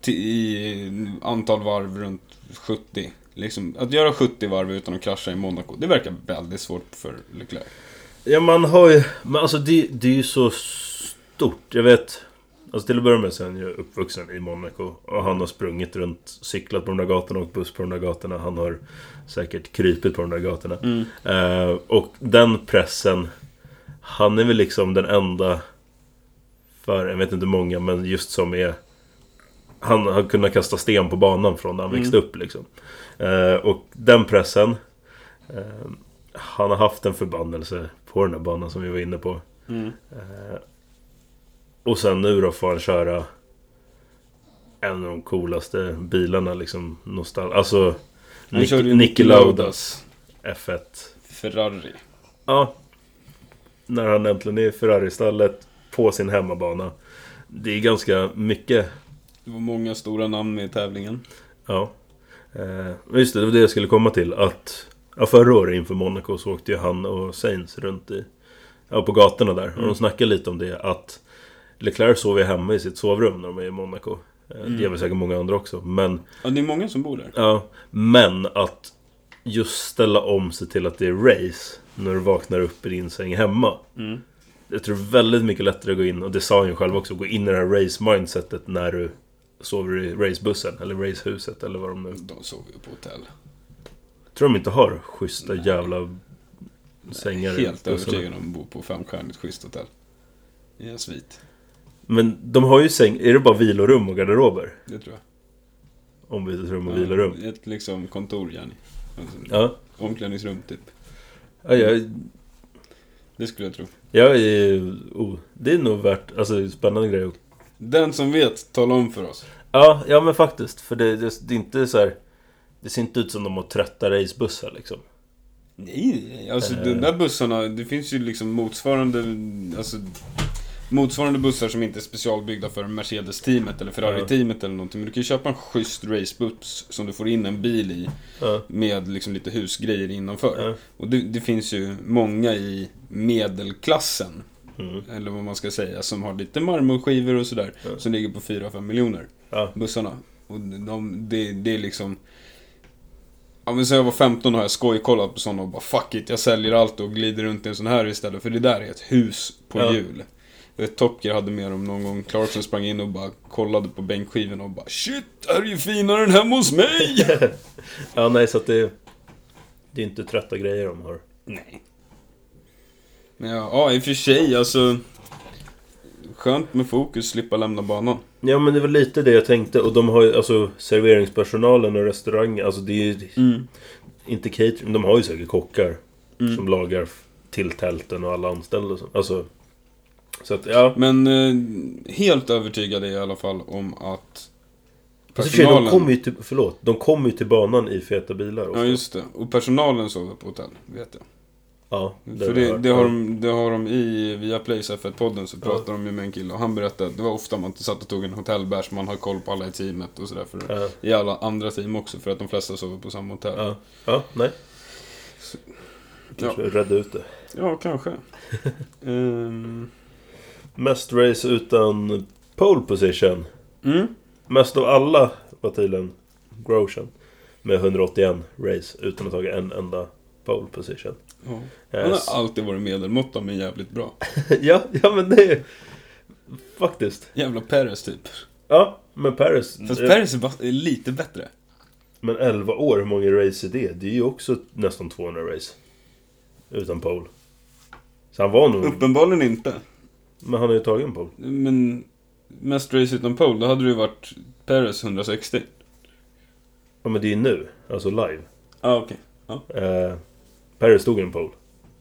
[SPEAKER 1] Till, I antal varv runt 70. Liksom, att göra 70 varv utan att krascha i Monaco, det verkar väldigt svårt för Leclerc.
[SPEAKER 2] Ja, man har ju... Men alltså det, det är ju så stort. Jag vet... Alltså till att börja med så är han ju uppvuxen i Monaco. Och han har sprungit runt, cyklat på de där gatorna, åkt buss på de där gatorna. Han har säkert krypit på de där gatorna. Eh, och den pressen... Han är väl liksom den enda... För, jag vet inte hur många, men just som är... Han har kunnat kasta sten på banan från
[SPEAKER 1] Mm.
[SPEAKER 2] när han växte upp liksom. Eh, och den pressen... eh, han har haft en förbannelse på den här banan som vi var inne på.
[SPEAKER 1] Mm.
[SPEAKER 2] Eh, och sen nu då får han köra en av de coolaste bilarna liksom. Nostal- alltså
[SPEAKER 1] Han
[SPEAKER 2] Nick-
[SPEAKER 1] körde ju
[SPEAKER 2] Nicky
[SPEAKER 1] Niki
[SPEAKER 2] Laudas F1.
[SPEAKER 1] Ferrari.
[SPEAKER 2] Ja. När han äntligen är i Ferrari-stallet på sin hemmabana. Det är ganska mycket.
[SPEAKER 1] Det var många stora namn med i tävlingen.
[SPEAKER 2] Ja. Eh, men just det, det var det jag skulle komma till. Att ja, förra året inför Monaco så åkte ju han och Sainz runt i... Ja, på gatorna där. Och de snackade lite om det att... Leclerc sover ju hemma i sitt sovrum när de är i Monaco. Eh, Det gör väl säkert många andra också. Men
[SPEAKER 1] Ja, det är många som bor där.
[SPEAKER 2] Ja, men att just ställa om sig till att det är race när du vaknar upp i din säng hemma.
[SPEAKER 1] Mm.
[SPEAKER 2] Jag tror det är väldigt mycket lättare att gå in, och det sa han ju själv också, gå in i det här race-mindsetet när du sover i racebussen eller racehuset eller vad de nu...
[SPEAKER 1] De sover ju på hotell.
[SPEAKER 2] Tror de inte har schyssta jävla sängar i
[SPEAKER 1] Helt
[SPEAKER 2] bussarna.
[SPEAKER 1] övertygad om att de bor på femstjärnigt schysst hotell. I en svit.
[SPEAKER 2] Men de har ju säng, är det bara vilorum och garderober?
[SPEAKER 1] Det tror jag.
[SPEAKER 2] Ombytesrum och vilorum.
[SPEAKER 1] Ja, Ett liksom kontor, Jenny. Alltså,
[SPEAKER 2] Ja,
[SPEAKER 1] Omklädningsrum, typ.
[SPEAKER 2] ja jag,
[SPEAKER 1] Det skulle jag tro.
[SPEAKER 2] jag är... Oh, det är nog värt, alltså spännande grej att
[SPEAKER 1] Den som vet, tala om för oss.
[SPEAKER 2] Ja, ja men faktiskt. För det, det, det är inte så här... Det ser inte ut som de har trötta racebussar liksom.
[SPEAKER 1] Nej, alltså
[SPEAKER 2] Eh.
[SPEAKER 1] de där bussarna, det finns ju liksom motsvarande, alltså motsvarande bussar som inte är specialbyggda för Mercedes-teamet eller Ferrari-teamet eller någonting. Men du kan ju köpa en schysst racebuss som du får in en bil i
[SPEAKER 2] Ja.
[SPEAKER 1] med liksom lite husgrejer innanför.
[SPEAKER 2] Ja.
[SPEAKER 1] Och det, det finns ju många i medelklassen,
[SPEAKER 2] Mm.
[SPEAKER 1] eller vad man ska säga, som har lite marmorskivor och sådär,
[SPEAKER 2] Ja.
[SPEAKER 1] som ligger på 4-5 miljoner.
[SPEAKER 2] Ja.
[SPEAKER 1] bussarna. Och de, det, det är liksom... Ja men sen jag var 15 har jag skojkollat på sådana och bara fuck it, jag säljer allt och glider runt i en sån här istället. För det där är ett hus på
[SPEAKER 2] Ja.
[SPEAKER 1] hjul. Jag vet, Top Gear hade med dem någon gång, Clarkson sprang in och bara kollade på bänkskivorna och bara Shit, här är ju finare än hemma hos mig!
[SPEAKER 2] ja, nej så att det... Det är inte trötta grejer de har.
[SPEAKER 1] Nej. Men ja, ja, i och för sig alltså... Skönt med fokus, slippa lämna banan.
[SPEAKER 2] Ja men det var lite det jag tänkte. Och de har ju alltså serveringspersonalen och restaurangen. Alltså det är ju inte catering. De har ju säkert kockar.
[SPEAKER 1] Mm.
[SPEAKER 2] Som lagar f- till tälten och alla anställda och så. Alltså... Så att ja. Alltså,
[SPEAKER 1] Men eh, helt övertygad är jag i alla fall om att
[SPEAKER 2] Alltså, för sig, de kommer ju till, förlåt, de kommer ju till banan i feta bilar.
[SPEAKER 1] Ja
[SPEAKER 2] Också.
[SPEAKER 1] just det, och personalen sover på hotell, vet jag.
[SPEAKER 2] Ja,
[SPEAKER 1] För
[SPEAKER 2] jag
[SPEAKER 1] det,
[SPEAKER 2] hört.
[SPEAKER 1] det, har de, det har de i, via Plays F1-podden så pratar de ju med en kille och han berättade att det var ofta man satt och tog en hotellbärs, man har koll på alla i teamet och sådär. För,
[SPEAKER 2] Ja,
[SPEAKER 1] I alla andra team också, för att de flesta sover på samma hotell.
[SPEAKER 2] ja, ja nej.
[SPEAKER 1] Så-
[SPEAKER 2] Kanske rädda ut det.
[SPEAKER 1] Ja, kanske. Ehm,
[SPEAKER 2] Mest race utan pole position.
[SPEAKER 1] mm.
[SPEAKER 2] Mest av alla var tydligen Grosjean. Med 181 race utan att ha tagit en enda pole position.
[SPEAKER 1] ja.
[SPEAKER 2] Eh,
[SPEAKER 1] Han
[SPEAKER 2] så-
[SPEAKER 1] har alltid varit medelmåtta men jävligt bra.
[SPEAKER 2] ja, ja, men det är... Faktiskt.
[SPEAKER 1] Jävla Perez typ.
[SPEAKER 2] Ja, men Paris...
[SPEAKER 1] Fast
[SPEAKER 2] eh,
[SPEAKER 1] Perez är bara- är lite bättre.
[SPEAKER 2] Men 11 år, hur många race är det? Det är ju också nästan 200 race. Utan pole. Så han var nog...
[SPEAKER 1] Uppenbarligen inte.
[SPEAKER 2] Men han har ju tagit en pole.
[SPEAKER 1] Men mest race utan pole, då hade det ju varit Perez 160.
[SPEAKER 2] Ja, men det är ju nu. Alltså live.
[SPEAKER 1] Ja, ah, okej.
[SPEAKER 2] Eh, Paris tog en pole.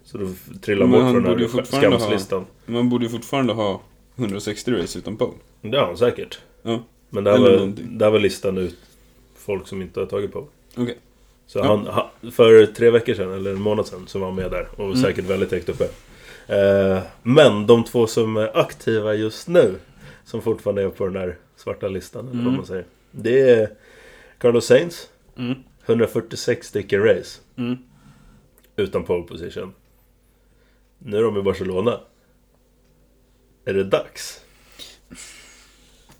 [SPEAKER 2] Så då f- trillar han
[SPEAKER 1] Men
[SPEAKER 2] bort
[SPEAKER 1] han
[SPEAKER 2] från den
[SPEAKER 1] borde ju
[SPEAKER 2] här
[SPEAKER 1] fortfarande ha-
[SPEAKER 2] skamslistan.
[SPEAKER 1] Man borde ju fortfarande ha 160 race utan pole.
[SPEAKER 2] Det har han säkert.
[SPEAKER 1] Ja.
[SPEAKER 2] Men där
[SPEAKER 1] Eller
[SPEAKER 2] var,
[SPEAKER 1] någonting.
[SPEAKER 2] där var listan ut folk som inte har tagit pole.
[SPEAKER 1] Okej.
[SPEAKER 2] Så
[SPEAKER 1] Ja.
[SPEAKER 2] han, han, för tre veckor sedan, eller en månad sedan, så var han med där. Och
[SPEAKER 1] Mm.
[SPEAKER 2] säkert väldigt högt uppe. Eh, men de två som är aktiva just nu, som fortfarande är på den där svarta listan, eller vad
[SPEAKER 1] Mm.
[SPEAKER 2] man säger. Det är Carlos Sainz,
[SPEAKER 1] Mm.
[SPEAKER 2] 146 stycken race,
[SPEAKER 1] Mm.
[SPEAKER 2] utan pole position. Nu är de i Barcelona. Är det dags?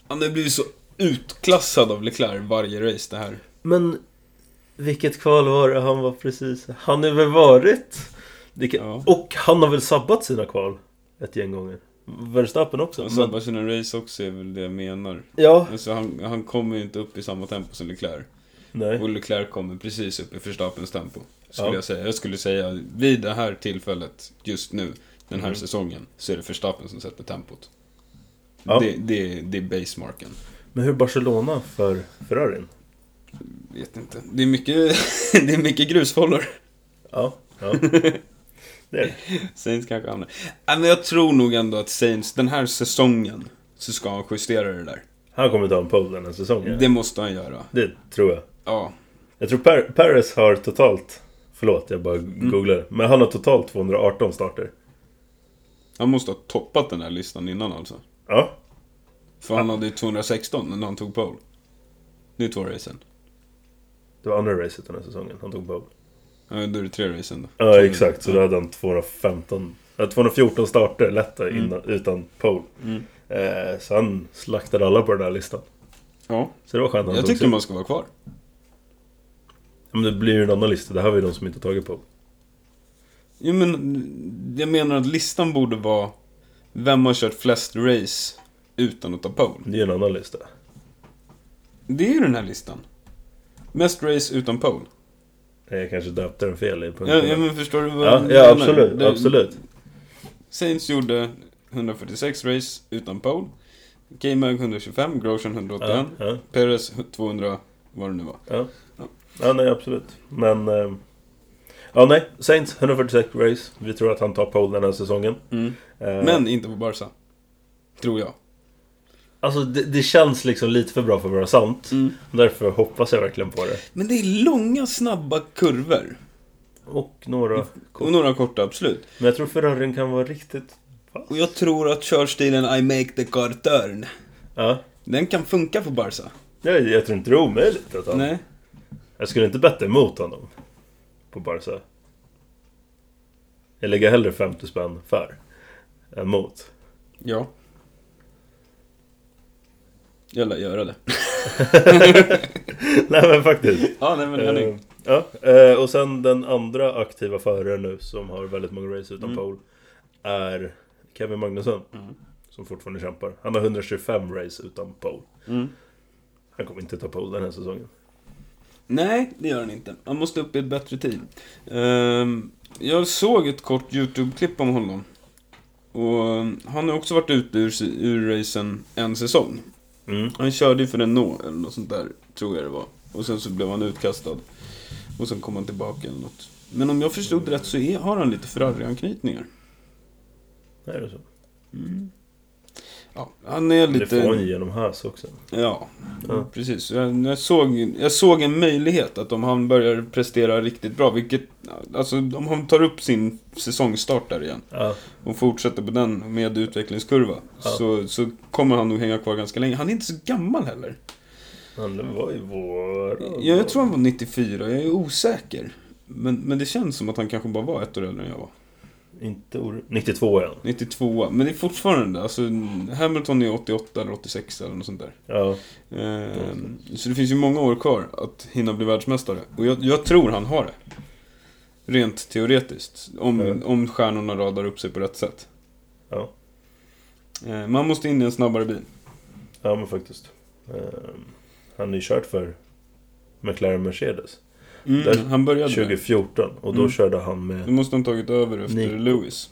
[SPEAKER 1] Han har blivit så utklassad av Leclerc varje race det här.
[SPEAKER 2] Men vilket kval var det han var precis? Han har väl varit? Det kan...
[SPEAKER 1] Ja.
[SPEAKER 2] Och han har väl sabbat sina kval ett gäng gånger? Verstappen också?
[SPEAKER 1] Han
[SPEAKER 2] men...
[SPEAKER 1] sabbar sina race också är väl det jag menar.
[SPEAKER 2] Ja,
[SPEAKER 1] Alltså han, han kommer ju inte upp i samma tempo som Leclerc.
[SPEAKER 2] nej.
[SPEAKER 1] Och Leclerc kommer precis upp i Verstappens tempo. Skulle
[SPEAKER 2] Ja.
[SPEAKER 1] jag säga. Jag skulle säga vid det här tillfället, just nu, den här
[SPEAKER 2] Mm.
[SPEAKER 1] säsongen, så är det Verstappen som sätter tempot.
[SPEAKER 2] Ja.
[SPEAKER 1] Det, det, det är basemarken.
[SPEAKER 2] Men hur är Barcelona för Ferrarin?
[SPEAKER 1] Vet inte. Det är mycket, det är mycket grusfållor.
[SPEAKER 2] Ja, ja. det är det.
[SPEAKER 1] Saints kanske hamnar. Nej, men jag tror nog ändå att Saints, den här säsongen, så ska han justera det där.
[SPEAKER 2] Han kommer ta en pole den här säsongen.
[SPEAKER 1] Det
[SPEAKER 2] Det...
[SPEAKER 1] måste han göra.
[SPEAKER 2] tror jag.
[SPEAKER 1] Ja.
[SPEAKER 2] Jag tror per- Paris har totalt... Förlåt, jag bara googlar. Men han har totalt 218 starter.
[SPEAKER 1] Han måste ha toppat den här listan innan alltså.
[SPEAKER 2] Ja,
[SPEAKER 1] För han hade ju 216 när han tog pole. Det är två racen.
[SPEAKER 2] det var andra racet den här säsongen. Han tog pole.
[SPEAKER 1] Ja, då är det tre racen då.
[SPEAKER 2] Ja, exakt. Så
[SPEAKER 1] Ja.
[SPEAKER 2] då hade han 215... ja, 214 starter lätt där innan, utan pole.
[SPEAKER 1] Mm.
[SPEAKER 2] Eh, så han slaktade alla på den här listan.
[SPEAKER 1] Ja,
[SPEAKER 2] Så det var skönt att han
[SPEAKER 1] jag
[SPEAKER 2] tog
[SPEAKER 1] tycker
[SPEAKER 2] sig.
[SPEAKER 1] man ska vara kvar.
[SPEAKER 2] Ja, Men det blir ju en annan lista. Det här var ju de som inte tagit pole.
[SPEAKER 1] Jo, men jag menar att listan borde vara vem har kört flest race utan att ta pole.
[SPEAKER 2] Det är ju en annan lista.
[SPEAKER 1] Det är ju den här listan. Mest race utan pole.
[SPEAKER 2] Nej, Jag kanske döpte den fel i punkterna.
[SPEAKER 1] Ja, ja men förstår du vad
[SPEAKER 2] ja,
[SPEAKER 1] jag
[SPEAKER 2] ja
[SPEAKER 1] menar?
[SPEAKER 2] absolut.
[SPEAKER 1] Det-
[SPEAKER 2] absolut.
[SPEAKER 1] Saints gjorde 146 race utan pole. K-Mag 125, Grosjean 181,
[SPEAKER 2] Ja, ja,
[SPEAKER 1] Perez 200, vad det nu var.
[SPEAKER 2] ja. ja, nej absolut. Men... ehm, Ja, nej. Saints 146 race. Vi tror att han tar pole den här säsongen. Eh,
[SPEAKER 1] Mm. Men inte på Barca. Tror jag.
[SPEAKER 2] Alltså, det, det känns liksom lite för bra för att vara sant.
[SPEAKER 1] Mm.
[SPEAKER 2] Därför hoppas jag verkligen på det.
[SPEAKER 1] Men det är långa, snabba kurvor.
[SPEAKER 2] Och några...
[SPEAKER 1] Och några korta, absolut.
[SPEAKER 2] Men jag tror Ferrarin kan vara riktigt...
[SPEAKER 1] Och jag tror att körstilen I make the car turn,
[SPEAKER 2] Ja.
[SPEAKER 1] den kan funka på Barca.
[SPEAKER 2] Jag, jag tror inte det är omöjligt att han...
[SPEAKER 1] Nej.
[SPEAKER 2] Jag skulle inte betta emot honom. På Barca. Jag lägger hellre 50 spänn för. Än mot.
[SPEAKER 1] Ja. Jag lär göra det.
[SPEAKER 2] nej men faktiskt.
[SPEAKER 1] Ja, nej men
[SPEAKER 2] Eh, ja. eh, och sen den andra aktiva föraren nu som har väldigt många race utan
[SPEAKER 1] Mm.
[SPEAKER 2] pole. Är Kevin Magnusson.
[SPEAKER 1] Mm.
[SPEAKER 2] Som fortfarande kämpar. Han har 125 race utan pole.
[SPEAKER 1] Mm.
[SPEAKER 2] Han kommer inte ta pole den här säsongen.
[SPEAKER 1] Nej, det gör den inte. Han måste upp i ett bättre team. Ehm, jag såg ett kort YouTube-klipp om honom. Och ehm, han har också varit ute ur, ur racen en säsong.
[SPEAKER 2] Mm.
[SPEAKER 1] Han körde ju för Renault eller något sånt där, tror jag det var. Och sen så blev han utkastad. Och sen kom han tillbaka eller något. Men om jag förstod rätt så är, har han lite Ferrari-anknytningar.
[SPEAKER 2] Är det så?
[SPEAKER 1] Mm. Ja, han är
[SPEAKER 2] Det får han ju
[SPEAKER 1] lite...
[SPEAKER 2] genom hös också.
[SPEAKER 1] Ja,
[SPEAKER 2] Ja.
[SPEAKER 1] precis. Jag, jag, såg, jag såg en möjlighet att om han börjar prestera riktigt bra, vilket... Alltså om han tar upp sin säsongstart där igen
[SPEAKER 2] Ja,
[SPEAKER 1] och fortsätter på den med utvecklingskurva
[SPEAKER 2] Ja.
[SPEAKER 1] så, så kommer han nog hänga kvar ganska länge. Han är inte så gammal heller.
[SPEAKER 2] han var ju vår...
[SPEAKER 1] Jag, jag tror han var 94, jag är osäker. Men, men det känns som att han kanske bara var ett år äldre än jag var.
[SPEAKER 2] Inte or... 92 är han.
[SPEAKER 1] 92, men det är fortfarande, alltså Hamilton är 88 eller 86 eller något sånt där.
[SPEAKER 2] Ja.
[SPEAKER 1] Ehm, så det finns ju många år kvar att hinna bli världsmästare. Och jag, jag tror han har det. Rent teoretiskt. Om,
[SPEAKER 2] Ja.
[SPEAKER 1] om stjärnorna radar upp sig på rätt sätt.
[SPEAKER 2] Mm. Ja.
[SPEAKER 1] Ehm, man måste in i en snabbare bil.
[SPEAKER 2] Ja men faktiskt. Ehm, han är ju kört för McLaren Mercedes. Där-
[SPEAKER 1] Mm, han började med.
[SPEAKER 2] 2014 och då
[SPEAKER 1] Mm.
[SPEAKER 2] körde han
[SPEAKER 1] Då
[SPEAKER 2] med...
[SPEAKER 1] måste han tagit över efter
[SPEAKER 2] Nico.
[SPEAKER 1] Lewis.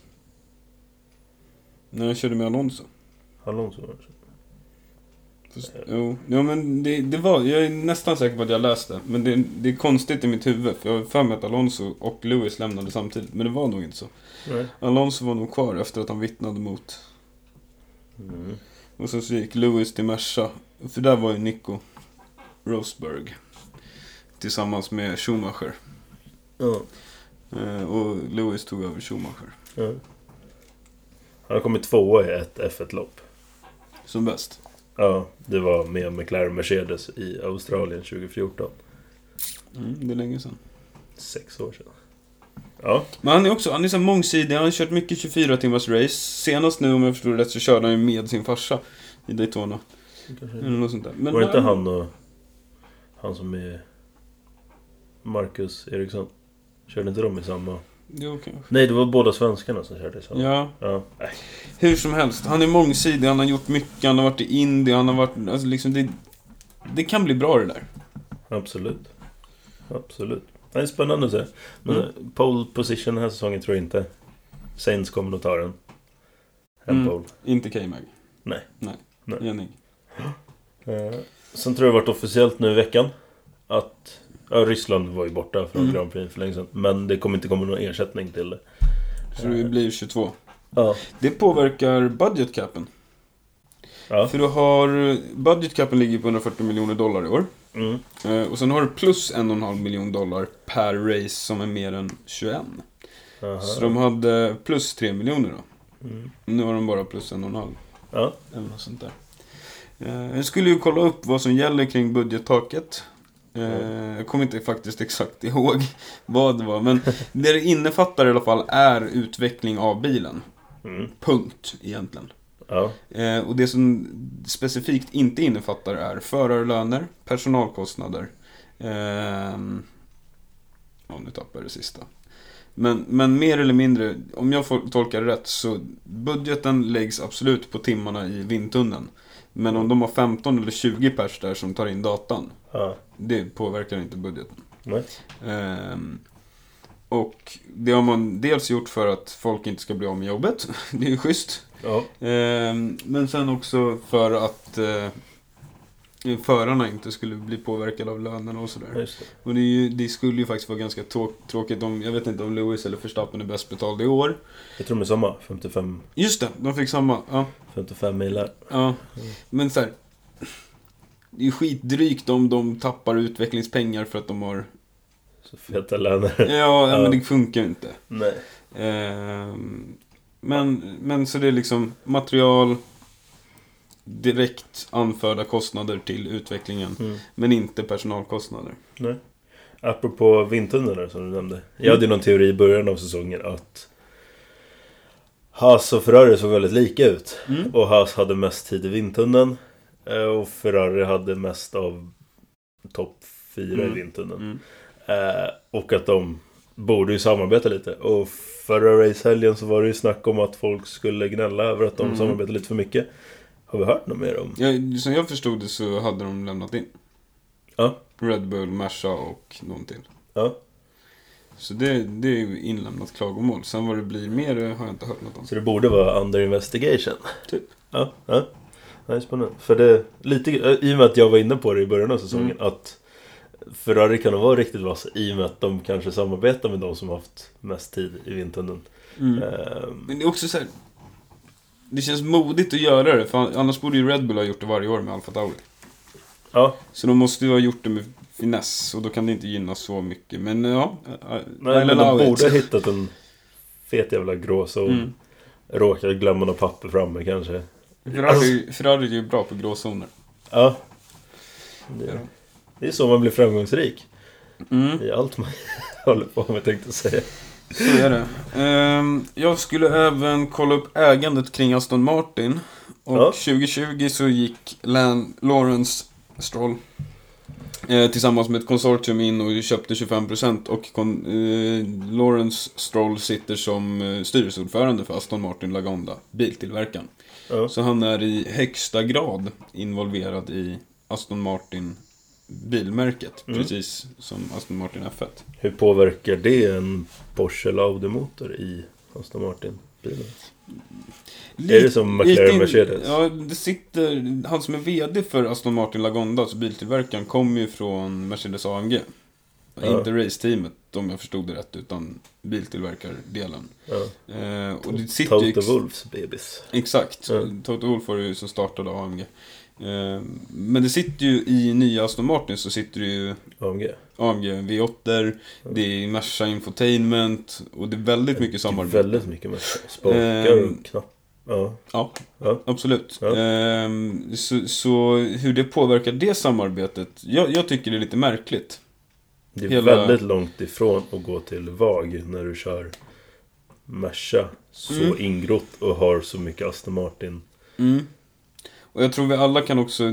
[SPEAKER 1] När han körde med Alonso.
[SPEAKER 2] Alonso var det.
[SPEAKER 1] Fast, jo, ja, men det, det var, jag är nästan säker på att jag läste. Men det, det är konstigt i mitt huvud. För jag har för mig att Alonso och Lewis lämnade samtidigt. Men det var nog inte så.
[SPEAKER 2] Nej.
[SPEAKER 1] Alonso var nog kvar efter att han vittnade mot.
[SPEAKER 2] Mm.
[SPEAKER 1] Och sen så gick Lewis till Merca. För där var ju Nico Rosberg. Tillsammans med Schumacher.
[SPEAKER 2] Ja.
[SPEAKER 1] Eh, och Lewis tog över Schumacher.
[SPEAKER 2] ja. Han har kommit tvåa i ett F1-lopp.
[SPEAKER 1] Som bäst.
[SPEAKER 2] Ja, det var med McLaren Mercedes i Australien 2014.
[SPEAKER 1] Mm, det är länge sedan.
[SPEAKER 2] Sex år sedan. Ja,
[SPEAKER 1] Men han är också, han är så här mångsidig, han har kört mycket 24 timmars race. Senast nu om jag förstod det rätt så körde han ju med sin farsa i Daytona. Eller något sånt där. Men
[SPEAKER 2] Mm. var det inte han och... Han som är... Marcus Eriksson? Körde inte de i samma...
[SPEAKER 1] Jo, kanske.
[SPEAKER 2] Nej, det var båda svenskarna som körde i samma.
[SPEAKER 1] Ja,
[SPEAKER 2] Ja. Nej.
[SPEAKER 1] hur som helst. Han är mångsidig, han har gjort mycket, han har varit i Indien, han har varit... Alltså liksom det... Det kan bli bra det där.
[SPEAKER 2] Absolut. Absolut. Det är spännande att se. Men
[SPEAKER 1] Mm.
[SPEAKER 2] eh, pole position den här säsongen tror jag inte. Sainz kommer att ta den. En
[SPEAKER 1] Mm.
[SPEAKER 2] pole.
[SPEAKER 1] Inte K-Mag.
[SPEAKER 2] Nej.
[SPEAKER 1] Nej.
[SPEAKER 2] Nej.
[SPEAKER 1] Jenning.
[SPEAKER 2] Eh, sen tror jag det varit officiellt nu i veckan. Att ja, Ryssland var ju borta från
[SPEAKER 1] Mm.
[SPEAKER 2] Grand Prix för länge sedan. Men det kommer inte komma någon ersättning till det.
[SPEAKER 1] Så det blir 22.
[SPEAKER 2] Ja.
[SPEAKER 1] Det påverkar budget capen.
[SPEAKER 2] ja.
[SPEAKER 1] För du har... Budget capen ligger på 140 miljoner dollar i år.
[SPEAKER 2] Mm.
[SPEAKER 1] Eh, Och sen har du plus en och en halv miljon dollar per race som är mer än 21.
[SPEAKER 2] Aha.
[SPEAKER 1] Så de hade plus 3 miljoner då.
[SPEAKER 2] Mm.
[SPEAKER 1] Nu har de bara plus en och en halv.
[SPEAKER 2] Ja.
[SPEAKER 1] Eller något sånt där. Eh, Jag skulle ju kolla upp vad som gäller kring budgettaket. Eh, Jag kommer inte faktiskt exakt ihåg vad det var. Men det det innefattar i alla fall är utveckling av bilen.
[SPEAKER 2] Mm.
[SPEAKER 1] Punkt egentligen.
[SPEAKER 2] ja.
[SPEAKER 1] Eh, Och det som specifikt inte innefattar är förarlöner, personalkostnader. ehm, Ja, nu tappade jag det sista. Men, men mer eller mindre, om jag får- tolkar det rätt så budgeten läggs absolut på timmarna i vindtunneln. Men om de har 15 eller 20 pers där som tar in datan,
[SPEAKER 2] Ja.
[SPEAKER 1] det påverkar inte budgeten.
[SPEAKER 2] Nej.
[SPEAKER 1] Ehm, och det har man dels gjort för att folk inte ska bli av med jobbet, det är ju schysst.
[SPEAKER 2] Ja.
[SPEAKER 1] Ehm, Men sen också för att eh, förarna inte skulle bli påverkade av lönerna och sådär.
[SPEAKER 2] Just det.
[SPEAKER 1] Och det, är ju, det skulle ju faktiskt vara ganska tå- tråkigt om, jag vet inte om Lewis eller Verstappen är bäst betald i år.
[SPEAKER 2] Jag tror de är samma. 55,
[SPEAKER 1] Just det, de fick samma. Ja,
[SPEAKER 2] 55 milar.
[SPEAKER 1] ja. Men så här, det är ju skitdrygt om de tappar utvecklingspengar för att de har...
[SPEAKER 2] Så feta löner.
[SPEAKER 1] Ja,
[SPEAKER 2] Ja.
[SPEAKER 1] men det funkar ju inte.
[SPEAKER 2] Nej.
[SPEAKER 1] Ehm, men, men så det är liksom material, direkt anförda kostnader till utvecklingen.
[SPEAKER 2] Mm.
[SPEAKER 1] Men inte personalkostnader.
[SPEAKER 2] Nej. Apropå vindtunneln som du nämnde. Jag hade ju någon teori i början av säsongen att Haas och Ferrari såg väldigt lika ut.
[SPEAKER 1] Mm.
[SPEAKER 2] Och Haas hade mest tid i vindtunneln. eh, Och Ferrari hade mest av topp fyra
[SPEAKER 1] Mm.
[SPEAKER 2] i vindtunneln.
[SPEAKER 1] Mm.
[SPEAKER 2] Eh, och att de borde ju samarbeta lite. Och förra racehelgen så var det ju snack om att folk skulle gnälla över att de
[SPEAKER 1] Mm.
[SPEAKER 2] samarbetar lite för mycket. Har vi hört något mer om?
[SPEAKER 1] Ja, som jag förstod det så hade de lämnat in.
[SPEAKER 2] Ja.
[SPEAKER 1] Red Bull, Merca och någon till.
[SPEAKER 2] Ja.
[SPEAKER 1] Så det, det är ju inlämnat klagomål. Sen vad det blir mer eh, har jag inte hört något om.
[SPEAKER 2] Så det borde vara under investigation.
[SPEAKER 1] Typ.
[SPEAKER 2] Ja, ja. Det är spännande. För det, lite, eh, I och med att jag var inne på det i början av säsongen
[SPEAKER 1] Mm.
[SPEAKER 2] att Ferrari kan nog vara riktigt vass i och med att de kanske samarbetar med de som haft mest tid i vindtunneln.
[SPEAKER 1] Mm.
[SPEAKER 2] Ehm,
[SPEAKER 1] Men det är också så här. det känns modigt att göra det, för annars borde ju Red Bull ha gjort det varje år med Alfa Tauri.
[SPEAKER 2] Ja,
[SPEAKER 1] Så de måste ju ha gjort det med finess, och då kan det inte gynnas så mycket. Men ja, I- I-
[SPEAKER 2] nej,
[SPEAKER 1] I'll
[SPEAKER 2] men
[SPEAKER 1] allow
[SPEAKER 2] de
[SPEAKER 1] it.
[SPEAKER 2] borde ha hittat en fet jävla gråzon.
[SPEAKER 1] Mm.
[SPEAKER 2] Råkar glömma något papper framme kanske.
[SPEAKER 1] Ferrari, Ferrari är ju bra på gråzoner.
[SPEAKER 2] Ja. Det, det är så man blir framgångsrik.
[SPEAKER 1] Mm.
[SPEAKER 2] I allt man håller på med tänkte jag säga.
[SPEAKER 1] Så är det. Ehm, jag skulle även kolla upp ägandet kring Aston Martin. Och
[SPEAKER 2] Ja.
[SPEAKER 1] 2020 så gick Lan Lawrence Stroll eh, tillsammans med ett konsortium in och köpte 25% och kon- eh, Lawrence Stroll sitter som eh, styrelseordförande för Aston Martin Lagonda, biltillverkaren.
[SPEAKER 2] Ja.
[SPEAKER 1] Så han är i högsta grad involverad i Aston Martin bilmärket,
[SPEAKER 2] Mm.
[SPEAKER 1] precis som Aston Martin F1.
[SPEAKER 2] Hur påverkar det en Porsche Laude-motor i Aston Martin-bilen? Är det som
[SPEAKER 1] Gick
[SPEAKER 2] McLaren
[SPEAKER 1] in-
[SPEAKER 2] Mercedes?
[SPEAKER 1] Ja, det sitter... Han som är VD för Aston Martin Lagonda, alltså biltillverkaren, kommer ju från Mercedes AMG.
[SPEAKER 2] Ja.
[SPEAKER 1] Inte race-teamet, om jag förstod det rätt, utan biltillverkardelen.
[SPEAKER 2] Ja.
[SPEAKER 1] Eh, och det sitter ju...
[SPEAKER 2] Toto
[SPEAKER 1] ex-
[SPEAKER 2] Wolffs bebis.
[SPEAKER 1] Exakt.
[SPEAKER 2] Ja.
[SPEAKER 1] Toto Wolff var det ju som startade AMG. Eh, men det sitter ju i nya Aston Martin så sitter det ju
[SPEAKER 2] AMG.
[SPEAKER 1] AMG
[SPEAKER 2] Mm.
[SPEAKER 1] V8, det är Merca Infotainment och det är väldigt mycket samarbete.
[SPEAKER 2] Väldigt mycket med spakar
[SPEAKER 1] Ehm.
[SPEAKER 2] och knapp. Ja.
[SPEAKER 1] Ja,
[SPEAKER 2] Ja.
[SPEAKER 1] absolut.
[SPEAKER 2] Ja.
[SPEAKER 1] Ehm, så, så hur det påverkar det samarbetet, jag, jag tycker det är lite märkligt.
[SPEAKER 2] Det är
[SPEAKER 1] Hela-
[SPEAKER 2] väldigt långt ifrån att gå till VAG när du kör Merca så
[SPEAKER 1] Mm.
[SPEAKER 2] ingrott och har så mycket Aston Martin.
[SPEAKER 1] Och jag tror vi alla kan också...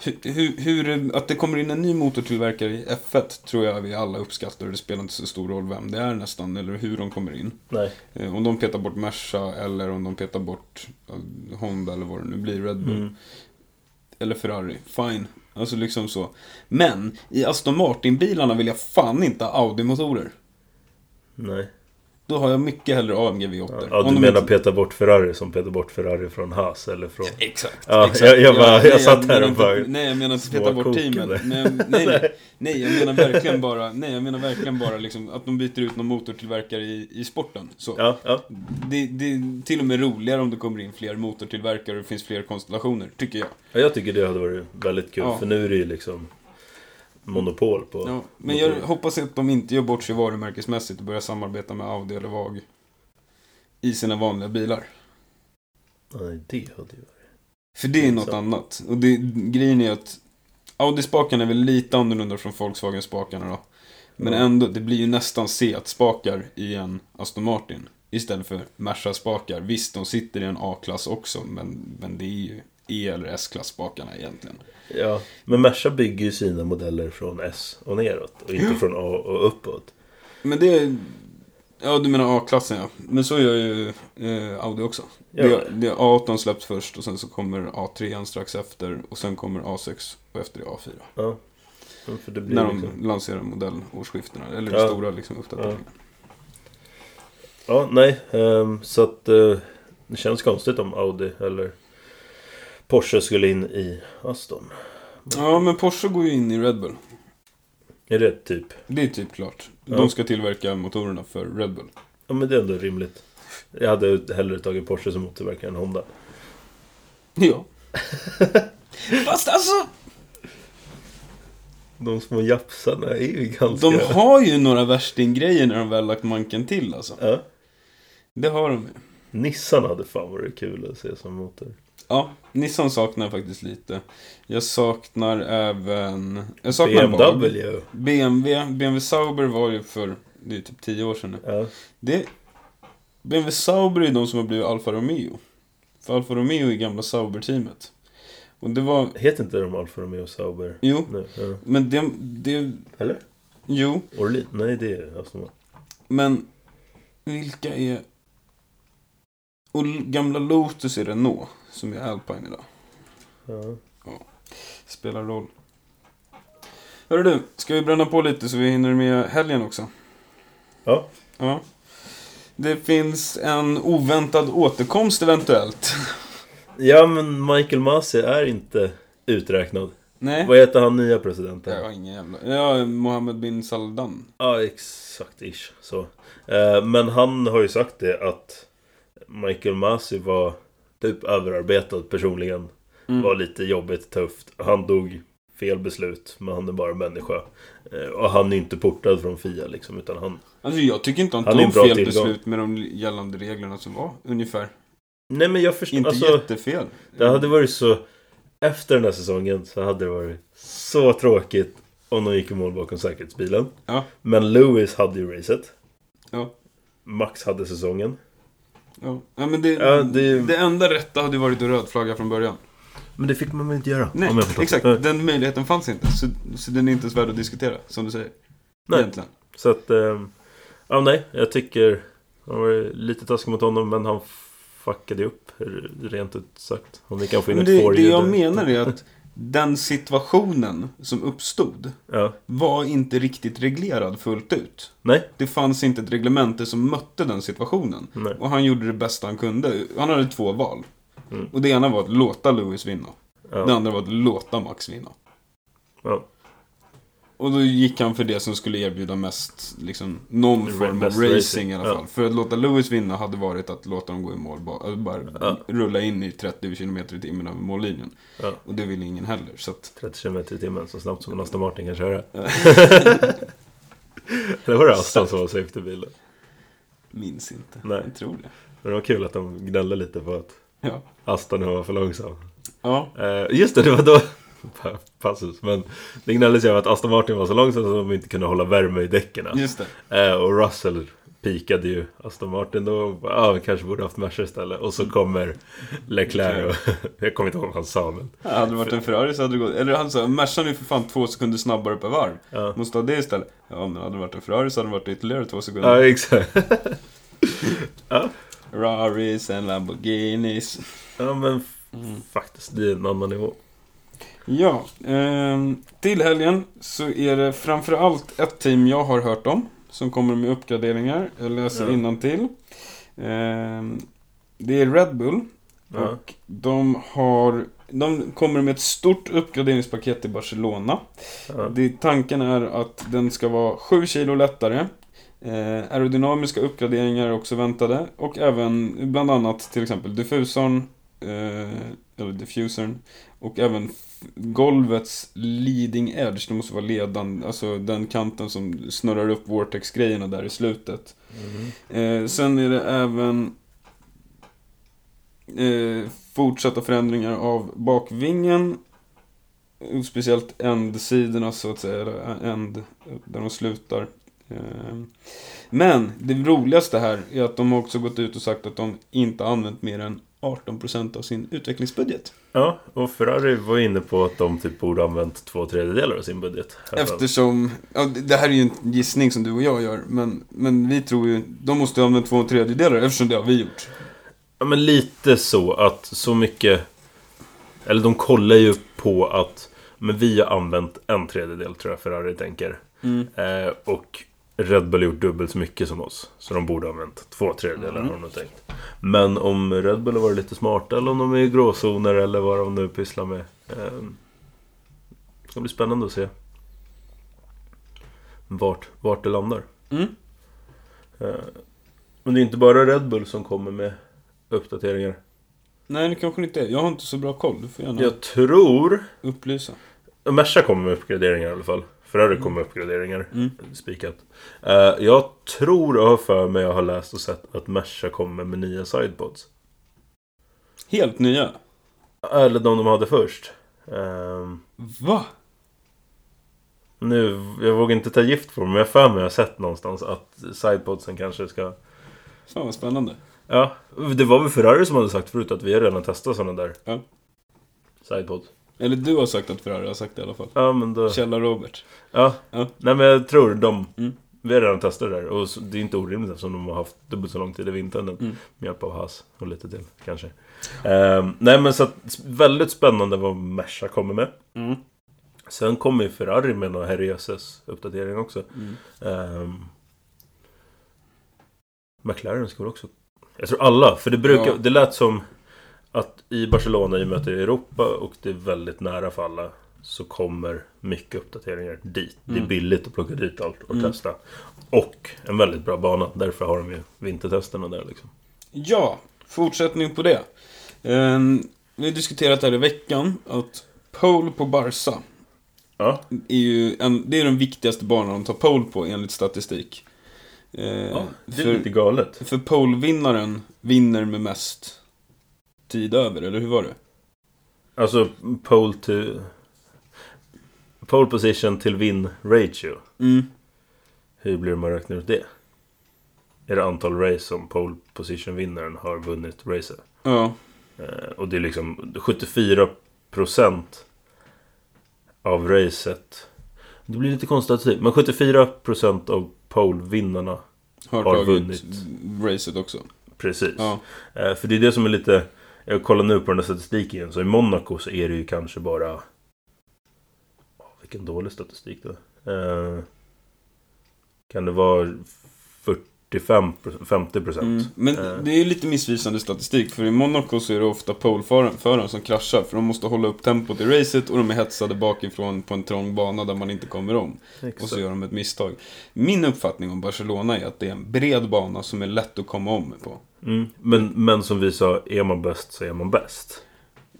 [SPEAKER 1] Hur, hur, hur, att det kommer in en ny motortillverkare i F1 tror jag vi alla uppskattar. Det spelar inte så stor roll vem det är nästan, eller hur de kommer in.
[SPEAKER 2] Nej.
[SPEAKER 1] Eh, Om de petar bort Merca eller om de petar bort eh, Honda eller vad det nu blir, Red Bull.
[SPEAKER 2] Mm.
[SPEAKER 1] Eller Ferrari, fine. Alltså liksom så. Men i Aston Martin-bilarna vill jag fan inte ha Audi-motorer.
[SPEAKER 2] Nej.
[SPEAKER 1] Då har jag mycket hellre AMG
[SPEAKER 2] Ja,
[SPEAKER 1] V8.
[SPEAKER 2] du
[SPEAKER 1] Om de
[SPEAKER 2] menar
[SPEAKER 1] inte-
[SPEAKER 2] peta bort Ferrari som petar bort Ferrari från Haas eller från...
[SPEAKER 1] Exakt.
[SPEAKER 2] Ja,
[SPEAKER 1] exakt.
[SPEAKER 2] jag- jag bara- jag
[SPEAKER 1] nej,
[SPEAKER 2] satt här
[SPEAKER 1] menar
[SPEAKER 2] och
[SPEAKER 1] inte-
[SPEAKER 2] bara-
[SPEAKER 1] Nej, jag menar inte
[SPEAKER 2] Små
[SPEAKER 1] peta bort
[SPEAKER 2] koken
[SPEAKER 1] teamet.
[SPEAKER 2] där.
[SPEAKER 1] Nej, nej, nej, nej, jag menar verkligen bara, nej, jag menar verkligen bara liksom att de byter ut någon motortillverkare i, i sporten. Så.
[SPEAKER 2] Ja, ja.
[SPEAKER 1] Det, det är till och med roligare om det kommer in fler motortillverkare och det finns fler konstellationer, tycker jag.
[SPEAKER 2] ja, jag tycker det hade varit väldigt kul
[SPEAKER 1] Ja.
[SPEAKER 2] för nu är det ju liksom monopol på...
[SPEAKER 1] Ja, men jag hoppas att de inte gör bort sig varumärkesmässigt och börjar samarbeta med Audi eller VAG i sina vanliga bilar.
[SPEAKER 2] Nej, det hade ju varit...
[SPEAKER 1] För det är något
[SPEAKER 2] Så.
[SPEAKER 1] annat. Och det, grejen är att Audi-spakarna är väl lite annorlunda från Volkswagen-spakarna då. Men
[SPEAKER 2] Mm.
[SPEAKER 1] ändå, det blir ju nästan Seat-spakar i en Aston Martin. Istället för Merca-spakar. Visst, de sitter i en A-klass också, men, men det är ju E eller S-klass-spakarna egentligen.
[SPEAKER 2] Ja, men Merca bygger ju sina modeller från S och neråt och inte från A och uppåt.
[SPEAKER 1] Men det är... Ja, du menar A-klassen ja. Men så gör ju eh, Audi också.
[SPEAKER 2] Ja.
[SPEAKER 1] Det, det, A18 släpps först och sen så kommer A3 strax efter och sen kommer A6 och efter det A4.
[SPEAKER 2] Ja. Ja, För det blir
[SPEAKER 1] När
[SPEAKER 2] liksom...
[SPEAKER 1] de lanserar modellårsskiftena, eller de
[SPEAKER 2] Ja.
[SPEAKER 1] stora liksom, uppdateringarna.
[SPEAKER 2] Ja, nej. ehm, så att eh, det känns konstigt om Audi eller Porsche skulle in i Aston.
[SPEAKER 1] Ja, men Porsche går ju in i Red Bull.
[SPEAKER 2] Är det typ?
[SPEAKER 1] Det är typ klart.
[SPEAKER 2] Ja.
[SPEAKER 1] De ska tillverka motorerna för Red Bull.
[SPEAKER 2] Ja, men det är ändå rimligt. Jag hade hellre tagit Porsche som motorverkare än Honda.
[SPEAKER 1] Ja. Fast alltså,
[SPEAKER 2] De små japsarna är ju ganska...
[SPEAKER 1] de har ju några värstinggrejer när de väl lagt manken till alltså.
[SPEAKER 2] Ja.
[SPEAKER 1] Det har de ju.
[SPEAKER 2] Nissan hade fan varit kul att se som motor.
[SPEAKER 1] Ja, Nissan saknar jag faktiskt lite. Jag saknar även... Jag saknar VAG.
[SPEAKER 2] BMW.
[SPEAKER 1] BMW. BMW Sauber var ju för... Det är ju typ 10 år sedan nu.
[SPEAKER 2] Ja.
[SPEAKER 1] Det... BMW Sauber är ju de som har blivit Alfa Romeo. För Alfa Romeo är gamla Sauber-teamet. Och det var...
[SPEAKER 2] Heter inte de Alfa Romeo Sauber?
[SPEAKER 1] Jo,
[SPEAKER 2] Nej, ja.
[SPEAKER 1] men det... det
[SPEAKER 2] Eller?
[SPEAKER 1] jo,
[SPEAKER 2] Orlin? Nej, det är alltså- Aston Martin.
[SPEAKER 1] men... Vilka är... Och gamla Lotus är Renault, som är Alpine idag.
[SPEAKER 2] Ja.
[SPEAKER 1] Spelar roll. Hörru du, ska vi bränna på lite så vi hinner med helgen också?
[SPEAKER 2] Ja.
[SPEAKER 1] Ja. Det finns en oväntad återkomst eventuellt.
[SPEAKER 2] ja, men Michael Masi är inte uträknad.
[SPEAKER 1] Nej.
[SPEAKER 2] Vad heter han nya presidenten?
[SPEAKER 1] Jag har ingen jävla... Ja, Mohammed bin Saldan.
[SPEAKER 2] Ja, exakt ish så. Eh, Men han har ju sagt det att Michael Masi var typ överarbetad personligen.
[SPEAKER 1] Mm.
[SPEAKER 2] Var lite jobbigt, tufft. Han dog fel beslut, men han är bara människa. Eh, Och han är inte portad från FIA liksom, utan han...
[SPEAKER 1] Alltså jag tycker inte han
[SPEAKER 2] Han är en
[SPEAKER 1] tog
[SPEAKER 2] bra
[SPEAKER 1] fel
[SPEAKER 2] tillgång.
[SPEAKER 1] beslut med de gällande reglerna som var, ungefär.
[SPEAKER 2] Nej men jag förstår,
[SPEAKER 1] Inte
[SPEAKER 2] alltså...
[SPEAKER 1] jättefel.
[SPEAKER 2] Det hade varit så... Efter den här säsongen så hade det varit så tråkigt om de gick i mål bakom säkerhetsbilen.
[SPEAKER 1] Ja.
[SPEAKER 2] Men Lewis hade ju racet.
[SPEAKER 1] Ja.
[SPEAKER 2] Max hade säsongen.
[SPEAKER 1] Ja. Ja, men det,
[SPEAKER 2] Ja, det-
[SPEAKER 1] det... enda rätta hade ju varit en röd flagga från början.
[SPEAKER 2] Men det fick man väl inte göra?
[SPEAKER 1] Nej,
[SPEAKER 2] om jag förstått.
[SPEAKER 1] exakt.
[SPEAKER 2] Nej.
[SPEAKER 1] Den möjligheten fanns inte. Så, så den är inte ens värd att diskutera, som du säger.
[SPEAKER 2] Nej.
[SPEAKER 1] Egentligen.
[SPEAKER 2] Så att... ehm, ja, nej. Jag tycker... Han var lite taskig mot honom, men han fuckade ju upp. Rent ut sagt. Om vi kan få in
[SPEAKER 1] Men
[SPEAKER 2] ett
[SPEAKER 1] det,
[SPEAKER 2] for
[SPEAKER 1] det
[SPEAKER 2] you
[SPEAKER 1] jag
[SPEAKER 2] där.
[SPEAKER 1] menar är att den situationen som uppstod
[SPEAKER 2] Ja.
[SPEAKER 1] var inte riktigt reglerad fullt ut.
[SPEAKER 2] Nej.
[SPEAKER 1] Det fanns inte ett reglemente som mötte den situationen.
[SPEAKER 2] Nej.
[SPEAKER 1] Och han gjorde det bästa han kunde. Han hade två val.
[SPEAKER 2] Mm.
[SPEAKER 1] Och det ena var att låta Lewis vinna.
[SPEAKER 2] Ja.
[SPEAKER 1] Det andra var att låta Max vinna.
[SPEAKER 2] Ja.
[SPEAKER 1] Och då gick han för det som skulle erbjuda mest, liksom, någon
[SPEAKER 2] Det var
[SPEAKER 1] form av
[SPEAKER 2] bäst
[SPEAKER 1] racing,
[SPEAKER 2] racing,
[SPEAKER 1] i alla
[SPEAKER 2] ja.
[SPEAKER 1] fall. För att låta Lewis vinna hade varit att låta dem gå i mål, bara, bara
[SPEAKER 2] Ja.
[SPEAKER 1] rulla in i 30 km i timmen över mållinjen.
[SPEAKER 2] ja.
[SPEAKER 1] Och det ville ingen heller, så att...
[SPEAKER 2] 30 km i timmen så snabbt som en Aston Martin kan köra. det var det Aston som var safetybilen.
[SPEAKER 1] Minns inte.
[SPEAKER 2] Nej.
[SPEAKER 1] Jag tror det.
[SPEAKER 2] Men det var kul att de gnällde lite på att
[SPEAKER 1] Ja.
[SPEAKER 2] Aston var för långsam.
[SPEAKER 1] Ja.
[SPEAKER 2] Eh, just det, det var då... Pa- Passus. Men det gnälldes ju om att Aston Martin var så långsam att de inte kunde hålla värme i däcken.
[SPEAKER 1] Just det.
[SPEAKER 2] Eh, och Russell pikade ju Aston Martin då. och bara, Ja, vi kanske borde haft Merca istället. Och så kommer Mm. Leclerc och... jag kommer inte ihåg vad han sa, men...
[SPEAKER 1] Hade det varit en Ferrari så hade det gått... Eller han sa, Mercan är ju för fan två sekunder snabbare per varv.
[SPEAKER 2] Ja.
[SPEAKER 1] Måste ha det istället. Ja, men hade det varit en Ferrari så hade det varit ytterligare två sekunder.
[SPEAKER 2] Ja, exakt.
[SPEAKER 1] Ferraris and Lamborghinis.
[SPEAKER 2] Ja, men f- faktiskt. Det är en annan nivå.
[SPEAKER 1] Ja, ehm, till helgen så är det framförallt ett team jag har hört om som kommer med uppgraderingar. Jag läser
[SPEAKER 2] Ja.
[SPEAKER 1] innantill. Ehm, det är Red Bull
[SPEAKER 2] Ja.
[SPEAKER 1] och de har de kommer med ett stort uppgraderingspaket till Barcelona.
[SPEAKER 2] Ja.
[SPEAKER 1] Det, tanken är att den ska vara 7 kilo lättare. Eh, aerodynamiska uppgraderingar är också väntade. Och även bland annat till exempel diffusorn. Eh, eller diffusern. Och även f- golvets leading edge. Det måste vara ledande. Alltså den kanten som snurrar upp Vortex-grejerna där i slutet.
[SPEAKER 2] Mhm.
[SPEAKER 1] Eh, sen är det även eh, fortsatta förändringar av bakvingen. Och Speciellt ändsidorna så att säga, eller änd, där de slutar. Eh, Men det roligaste här är att de har också gått ut och sagt att de inte har använt mer än 18% av sin utvecklingsbudget.
[SPEAKER 2] Ja, och Ferrari var inne på att de typ borde ha använt två tredjedelar av sin budget.
[SPEAKER 1] Eftersom, ja, det det här är ju en gissning som du och jag gör, men, men vi tror ju, de måste ha använt två tredjedelar eftersom det har vi gjort.
[SPEAKER 2] Ja, men lite så att så mycket... Eller de kollar ju på att... Men vi har använt en tredjedel tror jag Ferrari tänker. Eh, och Red Bull har gjort dubbelt så mycket som oss. Så de borde ha använt två tredjedelar har de nog tänkt. Men om Red Bull har varit lite smarta eller om de är i gråzoner eller vad de nu pysslar med. Eh, det ska bli spännande att se. Vart, vart det landar.
[SPEAKER 1] Mm.
[SPEAKER 2] Eh, men det är inte bara Red Bull som kommer med uppdateringar.
[SPEAKER 1] Nej, det kanske inte är. Jag har inte så bra koll. Du får gärna
[SPEAKER 2] Jag tror...
[SPEAKER 1] upplysa.
[SPEAKER 2] Merca kommer med uppgraderingar i alla fall. Ferrari kommer med uppgraderingar.
[SPEAKER 1] Mm.
[SPEAKER 2] Spikat. Eh, jag tror och har för mig, jag har läst och sett att Merca kommer med nya sidepods.
[SPEAKER 1] Helt nya.
[SPEAKER 2] Eller de de hade först. Ehm,
[SPEAKER 1] Va?
[SPEAKER 2] nu, jag vågar inte ta gift på dem, men jag har för mig, jag har sett någonstans att sidepodsen kanske ska...
[SPEAKER 1] Fan vad spännande.
[SPEAKER 2] Ja, det var väl Ferrari som hade sagt förut att vi har redan testat sådana där.
[SPEAKER 1] Ja.
[SPEAKER 2] Sidepods.
[SPEAKER 1] Eller du har sagt att Ferrari har sagt det i alla fall.
[SPEAKER 2] Ja, men då...
[SPEAKER 1] Källa Robert.
[SPEAKER 2] Ja.
[SPEAKER 1] Ja.
[SPEAKER 2] Nej men jag tror de...
[SPEAKER 1] Mm.
[SPEAKER 2] Vi har redan testat det där och så- det är inte orimligt eftersom de har haft dubbelt så lång tid i vintern nu.
[SPEAKER 1] Mm.
[SPEAKER 2] Med hjälp av Haas och lite till kanske. Ehm, nej men så att, väldigt spännande vad Merca kommer med.
[SPEAKER 1] Mm.
[SPEAKER 2] Sen kommer ju Ferrari med några herrejösses uppdatering också.
[SPEAKER 1] Mm.
[SPEAKER 2] Ehm, McLaren ska väl också... Jag tror alla, för det brukar...
[SPEAKER 1] Ja.
[SPEAKER 2] Det lät som att i Barcelona, i och med att det är Europa och det är väldigt nära för alla så kommer mycket uppdateringar dit. Det är
[SPEAKER 1] Mm.
[SPEAKER 2] billigt att plocka dit allt och
[SPEAKER 1] Mm.
[SPEAKER 2] testa. Och en väldigt bra bana, därför har de ju vintertesterna där liksom.
[SPEAKER 1] Ja, fortsättning på det. Ehm, vi har diskuterat här i veckan att pole på Barca
[SPEAKER 2] Ja,
[SPEAKER 1] är ju en, det är den viktigaste banan de tar pole på enligt statistik. Eh,
[SPEAKER 2] ja det är lite
[SPEAKER 1] för,
[SPEAKER 2] galet.
[SPEAKER 1] för polevinnaren vinner med mest tid över, eller hur var det?
[SPEAKER 2] Alltså pole to... Pole position till win ratio.
[SPEAKER 1] Mm.
[SPEAKER 2] Hur blir det om man räknar ut det? Är det antal race som pole position-vinnaren har vunnit racet?
[SPEAKER 1] Ja.
[SPEAKER 2] Eh, Och det är liksom 74% av racet. Det blir lite konstativt, men 74% av pole-vinnarna.
[SPEAKER 1] Har,
[SPEAKER 2] Har
[SPEAKER 1] tagit
[SPEAKER 2] vunnit.
[SPEAKER 1] racet också.
[SPEAKER 2] Precis.
[SPEAKER 1] Ja.
[SPEAKER 2] Eh, För det är det som är lite... Jag kollar nu på den här statistiken igen. Så i Monaco så är det ju kanske bara... Åh, Vilken dålig statistik då. Eh, Kan det vara 45 50 procent?
[SPEAKER 1] Mm. Men
[SPEAKER 2] Eh.
[SPEAKER 1] det är ju lite missvisande statistik, för i Monaco så är det ofta poleföraren som kraschar, för de måste hålla upp tempot i racet och de är hetsade bakifrån på en trång bana där man inte kommer om. Och så gör de ett misstag. Min uppfattning om Barcelona är att det är en bred bana som är lätt att komma om på.
[SPEAKER 2] Mm. Men, men som vi sa, är man bäst så är man bäst.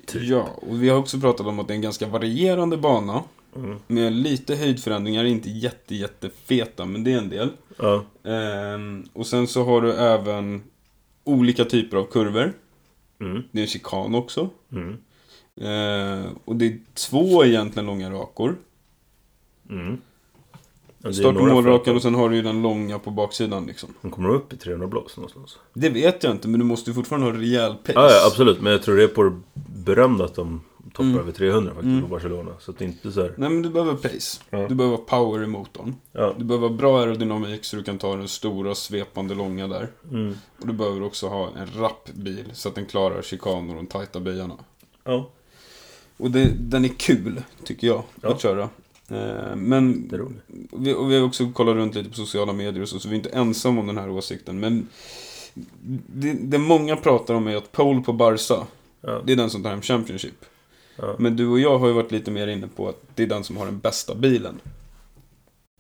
[SPEAKER 2] Typ.
[SPEAKER 1] Ja, och vi har också pratat om att det är en ganska varierande bana.
[SPEAKER 2] Mm.
[SPEAKER 1] Med lite höjdförändringar, inte jätte, jättefeta, men det är en del.
[SPEAKER 2] Ja.
[SPEAKER 1] Ehm, och sen så har du även olika typer av kurvor.
[SPEAKER 2] Mm.
[SPEAKER 1] Det är en chikan också.
[SPEAKER 2] Mm.
[SPEAKER 1] Ehm, och det är två egentligen långa rakor.
[SPEAKER 2] Mm. Ja, det är
[SPEAKER 1] Start och
[SPEAKER 2] några
[SPEAKER 1] målrakan
[SPEAKER 2] företag
[SPEAKER 1] och sen har du ju den långa på baksidan liksom.
[SPEAKER 2] Som kommer upp i 300 blås någonstans.
[SPEAKER 1] Det vet jag inte, men du måste ju fortfarande ha rejäl pace.
[SPEAKER 2] Ja, ja, absolut. Men jag tror det är på det berömda att de toppar
[SPEAKER 1] Mm.
[SPEAKER 2] över 300 faktiskt
[SPEAKER 1] Mm.
[SPEAKER 2] på Barcelona. Så att det är inte så här...
[SPEAKER 1] Nej men du behöver pace.
[SPEAKER 2] Ja.
[SPEAKER 1] Du behöver power i motorn.
[SPEAKER 2] Ja.
[SPEAKER 1] Du behöver bra aerodynamik så du kan ta den stora svepande långa där.
[SPEAKER 2] Mm.
[SPEAKER 1] Och du behöver också ha en rapp bil så att den klarar chikaner och de tajta byarna.
[SPEAKER 2] ja.
[SPEAKER 1] Och det, den är kul, tycker jag,
[SPEAKER 2] Ja.
[SPEAKER 1] att köra. Eh, Men
[SPEAKER 2] Det är roligt.
[SPEAKER 1] vi, och vi har också kollat runt lite på sociala medier och så, så vi är inte ensamma om den här åsikten. Men det, det många pratar om är att pole på Barca,
[SPEAKER 2] Ja.
[SPEAKER 1] det är den som tar hem Championship.
[SPEAKER 2] Ja.
[SPEAKER 1] Men du och jag har ju varit lite mer inne på att det är den som har den bästa bilen.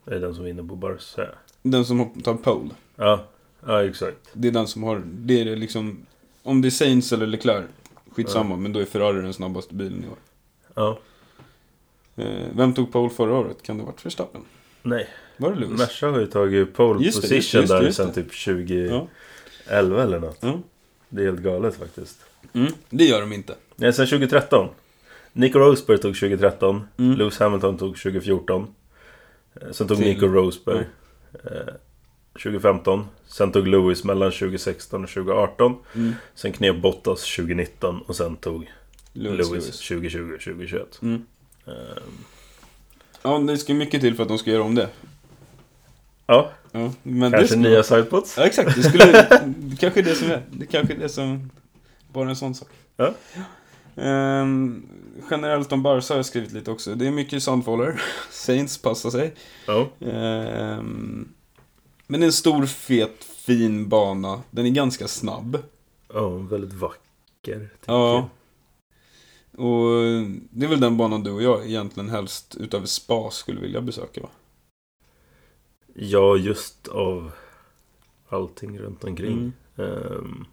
[SPEAKER 2] Det är den som vinner på Barca.
[SPEAKER 1] Den som tar pole.
[SPEAKER 2] Ja. Ja, exakt.
[SPEAKER 1] Det är den som har, det är det liksom, om det är Sainz eller Leclerc, skitsamma, men då är Ferrari den snabbaste bilen i år.
[SPEAKER 2] Ja.
[SPEAKER 1] Eh, vem tog pole förra året? Kan det ha varit Verstappen?
[SPEAKER 2] Nej.
[SPEAKER 1] Var det Lewis?
[SPEAKER 2] Merca har ju tagit pole
[SPEAKER 1] Just det,
[SPEAKER 2] position
[SPEAKER 1] just det, just det,
[SPEAKER 2] där
[SPEAKER 1] just
[SPEAKER 2] sen
[SPEAKER 1] det.
[SPEAKER 2] typ 2011
[SPEAKER 1] Ja.
[SPEAKER 2] eller något.
[SPEAKER 1] Ja.
[SPEAKER 2] Det är helt galet faktiskt.
[SPEAKER 1] Mm, det gör de inte.
[SPEAKER 2] Nej, sen 2013. Nico Rosberg tog 2013.
[SPEAKER 1] Mm.
[SPEAKER 2] Lewis Hamilton tog 2014. Eh, Sen tog
[SPEAKER 1] Till-
[SPEAKER 2] Nico Rosberg. Eh, 2015. Sen tog Lewis mellan 2016 och 2018.
[SPEAKER 1] Mm.
[SPEAKER 2] Sen knep Bottas 2019 och sen tog
[SPEAKER 1] Lewis,
[SPEAKER 2] Lewis,
[SPEAKER 1] Lewis.
[SPEAKER 2] 2020 och 2021.
[SPEAKER 1] Mm.
[SPEAKER 2] Eh,
[SPEAKER 1] Ja, det ska mycket till för att de ska göra om det.
[SPEAKER 2] ja,
[SPEAKER 1] Ja, men det
[SPEAKER 2] kanske
[SPEAKER 1] ska...
[SPEAKER 2] nya sidepods.
[SPEAKER 1] Ja, exakt. Det, skulle... det kanske är det som är. Det kanske är det som... Bara en sån sak.
[SPEAKER 2] Ja.
[SPEAKER 1] Ehm, generellt om Barca har jag skrivit lite också. Det är mycket Sandfaller. Saints passar sig.
[SPEAKER 2] Ja.
[SPEAKER 1] Ehm, men det är en stor, fet, fin bana. Den är ganska snabb.
[SPEAKER 2] ja, väldigt vacker.
[SPEAKER 1] Ja. Och eh, det är väl den banan du och jag egentligen helst utöver spa skulle vilja besöka va?
[SPEAKER 2] Ja, just av allting runt omkring.
[SPEAKER 1] Mm.
[SPEAKER 2] Ehm,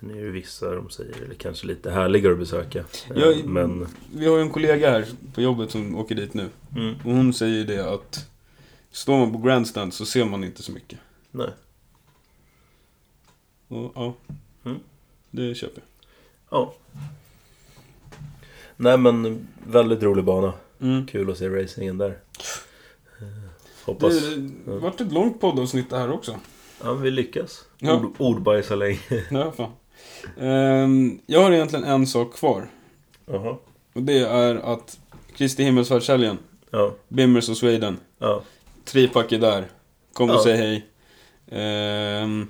[SPEAKER 2] sen är det vissa de säger, eller kanske lite härligare att besöka. Ehm,
[SPEAKER 1] Jag-
[SPEAKER 2] men...
[SPEAKER 1] Vi har ju en kollega här på jobbet som åker dit nu.
[SPEAKER 2] Mm,
[SPEAKER 1] Och hon säger ju det att står man på grandstand så ser man inte så mycket.
[SPEAKER 2] nej.
[SPEAKER 1] Och ja,
[SPEAKER 2] Mm.
[SPEAKER 1] det köper
[SPEAKER 2] Ja. Nej men, väldigt rolig bana.
[SPEAKER 1] jag. Mm.
[SPEAKER 2] Kul att se racingen där. Ehm,
[SPEAKER 1] Det
[SPEAKER 2] hoppas...
[SPEAKER 1] har varit ett långt poddavsnitt det här också.
[SPEAKER 2] Ja, vi lyckas.
[SPEAKER 1] Ja.
[SPEAKER 2] Ord, ordbajsa länge.
[SPEAKER 1] Ja, fan. Ehm, jag har egentligen en sak kvar.
[SPEAKER 2] Jaha.
[SPEAKER 1] Och det är att Kristi himmelsfärdshelgen,
[SPEAKER 2] Ja.
[SPEAKER 1] Bimmers och Sweden,
[SPEAKER 2] Ja.
[SPEAKER 1] Tripack är där. Kom och
[SPEAKER 2] Ja.
[SPEAKER 1] säg hej. Ehm,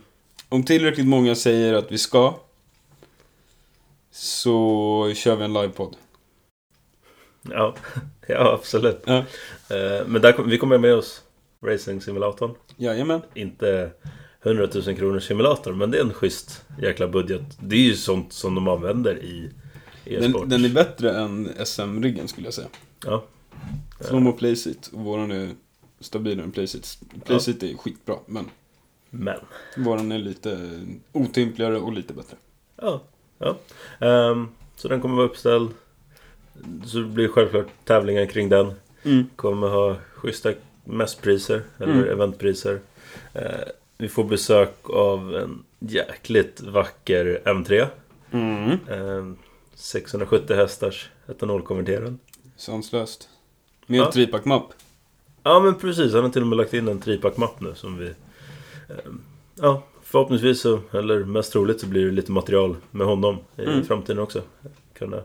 [SPEAKER 1] om tillräckligt många säger att vi ska. Så kör vi en livepodd.
[SPEAKER 2] Ja. ja, absolut.
[SPEAKER 1] Ja.
[SPEAKER 2] Ehm, men där, kom- vi kommer med oss Racing Simulatorn.
[SPEAKER 1] Jajamän.
[SPEAKER 2] inte 100 000 kronors simulator, men det är en schysst jäkla budget. Det är ju sånt som de använder i e-sport.
[SPEAKER 1] Den, den är bättre än SM-riggen skulle jag säga.
[SPEAKER 2] Ja.
[SPEAKER 1] Slå mot Placeit och våran är stabilare än Placeit. Placeit är skitbra, men
[SPEAKER 2] Men.
[SPEAKER 1] Våran är lite otympligare och lite bättre.
[SPEAKER 2] Ja. ja. Ehm, så den kommer vara uppställd. Så det blir självklart tävlingar kring den. Kommer ha schyssta mässpriser, eller
[SPEAKER 1] Mm.
[SPEAKER 2] eventpriser. Eh, vi får besök av en jäkligt vacker M3.
[SPEAKER 1] Mm.
[SPEAKER 2] Eh, 670 hästars etanolkonverterad.
[SPEAKER 1] Sanslöst. Med
[SPEAKER 2] Ja.
[SPEAKER 1] tripack mapp.
[SPEAKER 2] Ja men precis, han har till och med lagt in en tripack-mapp nu som vi... eh, Ja, förhoppningsvis så, eller mest troligt så blir det lite material med honom i
[SPEAKER 1] Mm.
[SPEAKER 2] framtiden också. Kunna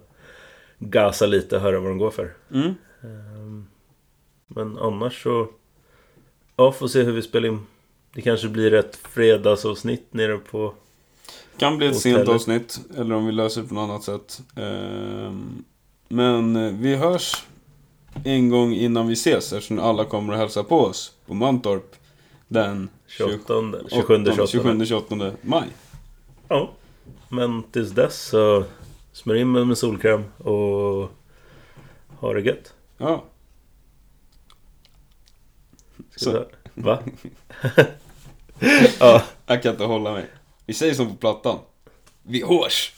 [SPEAKER 2] gasa lite, höra vad de går för.
[SPEAKER 1] Mm.
[SPEAKER 2] Ehm, Men annars så... Ja, får se hur vi spelar in. Det kanske blir ett fredagsavsnitt nere på...
[SPEAKER 1] Kan bli ett
[SPEAKER 2] Och
[SPEAKER 1] sent
[SPEAKER 2] stället.
[SPEAKER 1] avsnitt, eller om vi löser det på något annat sätt. Ehm, Men eh, vi hörs en gång innan vi ses, eftersom alla kommer att hälsa på oss på Mantorp den
[SPEAKER 2] 28, 27,
[SPEAKER 1] 28,
[SPEAKER 2] 28.
[SPEAKER 1] 27, 28 maj.
[SPEAKER 2] Ja. Men tills dess så smörj in mig med solkräm och ha det gött.
[SPEAKER 1] Ja,
[SPEAKER 2] Ska
[SPEAKER 1] Så.
[SPEAKER 2] vi ta- Va? ja.
[SPEAKER 1] jag kan inte hålla mig. Vi säger som på plattan. Vi hörs!